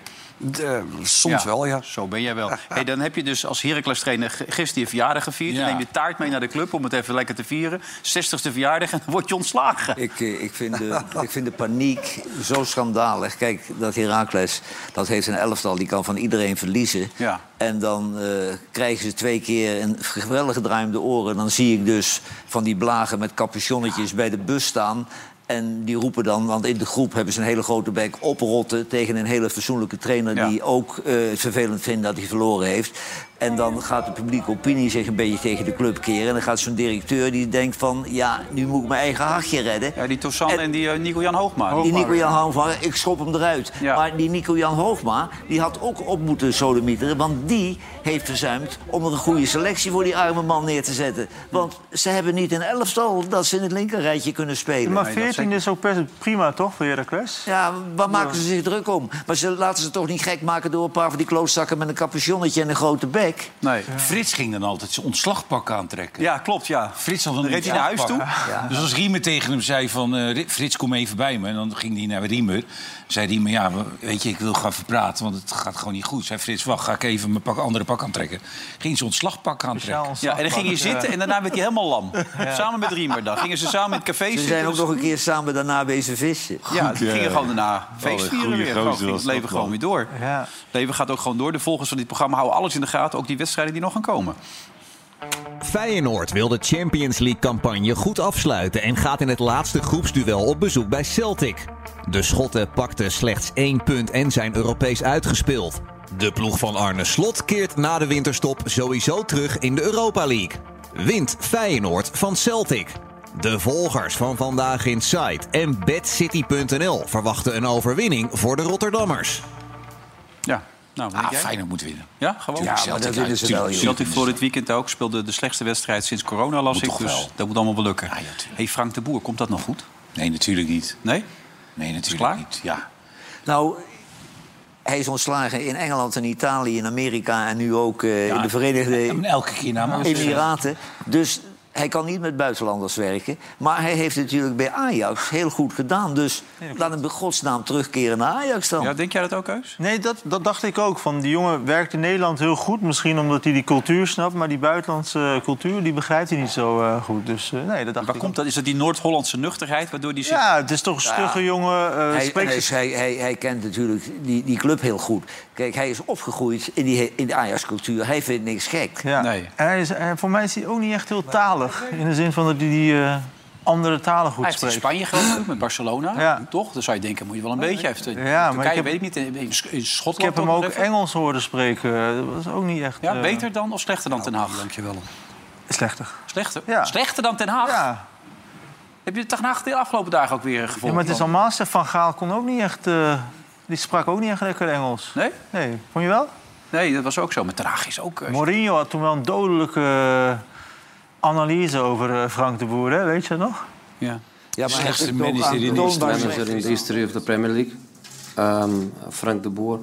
Eh, soms Ja, wel, ja. Zo ben jij wel. Hey, dan heb je dus als Heracles trainer g- gisteren je verjaardag gevierd. Ja. Dan neem je taart mee naar de club om het even lekker te vieren. 60ste verjaardag en dan word je ontslagen. Ik, eh, ik, vind (laughs) de, ik vind de paniek zo schandalig. Kijk, dat Herakles, dat heeft een elftal, die kan van iedereen verliezen. Ja. En dan eh, krijgen ze twee keer een geweldig gedraaimde oren. Dan zie ik dus van die blagen met capuchonnetjes bij de bus staan. En die roepen dan, want in de groep hebben ze een hele grote bek oprotten... tegen een hele fatsoenlijke trainer Ja. die ook eh, het vervelend vindt dat hij verloren heeft. En dan gaat de publieke opinie zich een beetje tegen de club keren. En dan gaat zo'n directeur die denkt van... ja, nu moet ik mijn eigen hartje redden. Ja, die Tosan en, En- die eh, Nico-Jan Hoogma. Die Nico-Jan Hoogma, ik schop hem eruit. Ja. Maar die Nico-Jan Hoogma, die had ook op moeten sodemieteren... want die heeft verzuimd om er een goede selectie voor die arme man neer te zetten. Want ze hebben niet een elftal dat ze in het linkerrijtje kunnen spelen. Maar 14 is ook best prima, toch, voor Heracles? Ja, waar maken ze zich druk om? Maar ze laten ze toch niet gek maken door een paar van die klootzakken... met een capuchonnetje en een grote bek? Nee. Frits ging dan altijd zijn ontslagpak aantrekken. Ja, klopt, ja. Frits had een reed hij naar huis toe? Ja. Dus als Riemer tegen hem zei van... eh, Ri- Frits, kom even bij me. En dan ging hij naar Riemer. Zei Riemer, ja, we- weet je, ik wil gaan verpraten... want het gaat gewoon niet goed. Zei Frits, wacht, ga ik even mijn pak, andere pak aantrekken. Ging zijn ontslagpak aantrekken. Ja, en dan ging hij zitten en daarna werd hij helemaal (laughs) lam. Samen met Riemer dan. Gingen ze samen in het café Ze zitten. zijn ook Dus- nog een keer samen daarna bezig vissen. Ja, het ja, ging ja. gewoon daarna feestvieren goeie weer. Gewoon gozer ging was het leven dat gewoon wel. weer door. Ja. Het leven gaat ook gewoon door. De volgers van dit programma houden alles in de gaten. Ook die wedstrijden die nog gaan komen. Feyenoord wil de Champions League-campagne goed afsluiten en gaat in het laatste groepsduel op bezoek bij Celtic. De Schotten pakten slechts één punt en zijn Europees uitgespeeld. De ploeg van Arne Slot keert na de winterstop sowieso terug in de Europa League. Wint Feyenoord van Celtic. De volgers van Vandaag in Sight en BadCity.nl verwachten een overwinning voor de Rotterdammers. Ja, nou, wat Ah, denk jij? Feyenoord moet winnen. Ja, gewoon. Tuurlijk, Celtic dat willen uit, ze tuurlijk, wel, joh. tuurlijk. Celtic voor dit weekend ook. Speelde de slechtste wedstrijd sinds corona, las ik. toch Dus wel. dat moet allemaal wel lukken. Ja, ja, tuurlijk. hey, Frank de Boer, komt dat nog goed? Nee, natuurlijk niet. Nee? Nee, natuurlijk klaar? niet. Ja. Nou, hij is ontslagen in Engeland en Italië, in Amerika... en nu ook eh, in de Verenigde En elke keer naar Emiraten. Dus hij kan niet met buitenlanders werken. Maar hij heeft het natuurlijk bij Ajax heel goed gedaan. Dus laat hem bij godsnaam terugkeren naar Ajax dan. Ja, denk jij dat ook, Heus? Nee, dat, dat dacht ik ook. Van, die jongen werkt in Nederland heel goed. Misschien omdat hij die cultuur snapt. Maar die buitenlandse cultuur die begrijpt hij niet zo eh, goed. Dus eh, nee, dat dacht Waar ik komt dat? Is dat die Noord-Hollandse nuchterheid waardoor die zich... Ja, het is toch een stugge jongen. eh, Hij, spreekt hij, zich- hij, hij, hij kent natuurlijk die, die club heel goed. Kijk, hij is opgegroeid in, die, in de Ajax-cultuur. Hij vindt niks gek. ja. Nee. En hij is, en voor mij is hij ook niet echt heel talig. In de zin van dat hij die eh, andere talen goed Hij heeft in spreekt. Spanje gewoond, met Barcelona, Ja, toch? Dan zou je denken, moet je wel een beetje. Hij heeft in maar Turkije, ik heb- weet ik niet, in, in- in Schotland... Ik heb hem toch nog ook even. Engels horen spreken. Dat was ook niet echt... Ja, eh, beter dan of slechter Nou, dan Ten Haag? Dankjewel. Slechter. Slechter? Ja. Slechter dan Ten Haag? Ja. Heb je Ten Haag de afgelopen dagen ook weer gevolgd? ja, maar het is dan? allemaal... Stef van Gaal kon ook niet echt... eh, die sprak ook niet echt lekker Engels. Nee? Nee, vond je wel? Nee, dat was ook zo. Maar Ten Haag is ook... eh, Mourinho had toen wel een dodelijke eh, analyse over eh, Frank de Boer, hè? weet je dat nog? ja. Ja, maar hij Slechtste heeft het ook manager in de aantoonbaar historie. slecht manager in the gedaan. history of the Premier League. Um, Frank de Boer,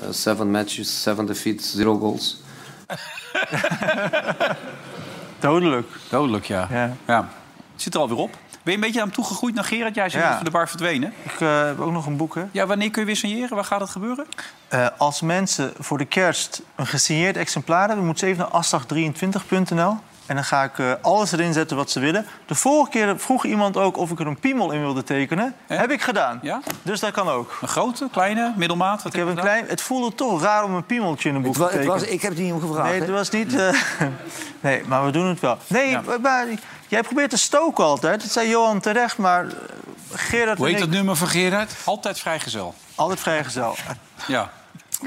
uh, seven matches, seven defeats, zero goals. Dodelijk. Dodelijk, ja. Ja. ja. Het zit er alweer op. Ben je een beetje aan hem toegegroeid naar Gerard? Jij is Ja. net van de bar verdwenen. Ik eh, heb ook nog een boek, hè? Ja, wanneer kun je weer signeren? Waar gaat dat gebeuren? Eh, als mensen voor de kerst een gesigneerd exemplaar hebben... moeten ze even naar asdag23.nl. En dan ga ik eh, alles erin zetten wat ze willen. De vorige keer vroeg iemand ook of ik er een piemel in wilde tekenen. Heb ik gedaan. Ja? Dus dat kan ook. Een grote, kleine, middelmaat? Wat Ik heb een je klein... Het voelde toch raar om een piemeltje in een boek Het wa- te het tekenen. was, ik heb het niet om gevraagd. Nee, hè. het was niet. eh, (laughs) nee, maar we doen het wel. Nee, maar, jij probeert te stoken altijd. Dat zei Johan terecht, maar eh, Gerard Hoe en heet ik... dat nummer van Gerard? gedaan? Altijd vrijgezel. Altijd vrijgezel. Ja.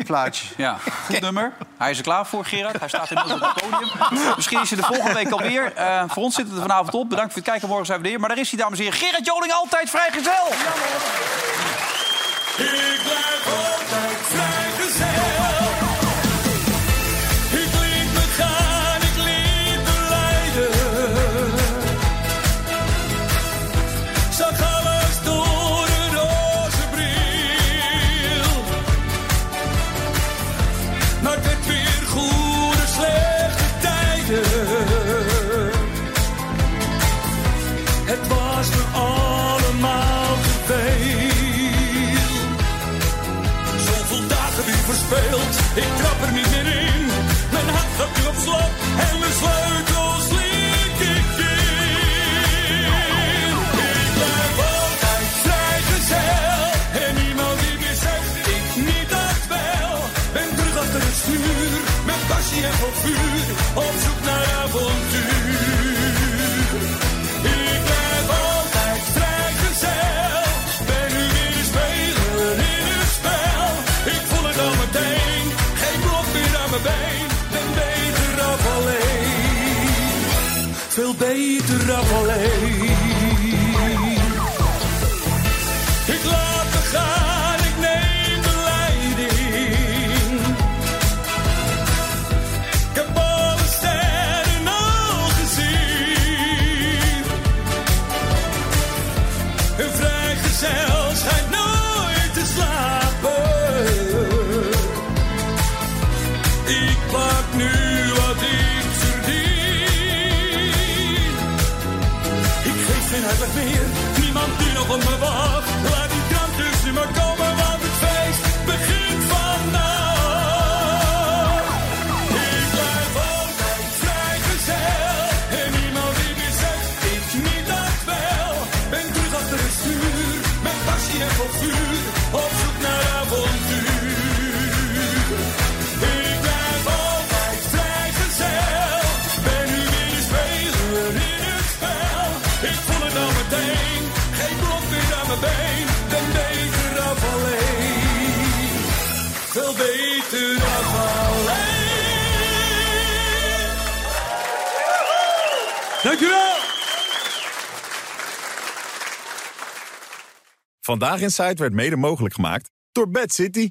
Plaatje. Ja, goed nummer. Hij is er klaar voor, Gerard. Hij staat inmiddels op het podium. Misschien is hij de volgende week alweer. Eh voor ons zit het er vanavond op. Bedankt voor het kijken. Morgen zijn we er. Maar daar is hij, dames en heren. Gerard Joling, altijd vrijgezel. Ik blijf altijd vrijgezel. Ik liet me gaan, ik liet me leiden. Zag alles door een roze bril. Maar het werd weer goede, slechte tijden. Het was me allemaal te veel. Zoveel dagen weer verspeeld, ik trap er niet meer in. Mijn hart gaat nu op slot en mijn sleutels liet ik in. Ik blijf altijd vrijgezel en niemand die meer zegt ik niet dat wel. Ben terug achter het stuur, met passie en vol vuur, op zoek naar avontuur. Ik blijf altijd vrijgezel. niet rap alleen. Ik laat me gaan, ik neem de leiding. Ik heb alle sterren al gezien. Een vrijgezel schijnt nooit te slapen. Ik pak nu wat ik verdien. Ik geef geen uitleg meer, niemand die nog op me wacht. Laat die drank tussen me komen, want het feest begint vandaag. Ik blijf altijd vrijgezel en niemand die meer zegt, ik niet dat wel. Ben terug achter het stuur, met passie en vol vuur, op zoek naar avontuur. Ik blijf altijd vrijgezel. Ben nu weer de speler in het spel. Ik voel het al meteen. Geen blok meer aan mijn been. Ben beter af alleen. Veel beter af alleen. Dankjewel! Vandaag Inside werd mede mogelijk gemaakt door Bad City.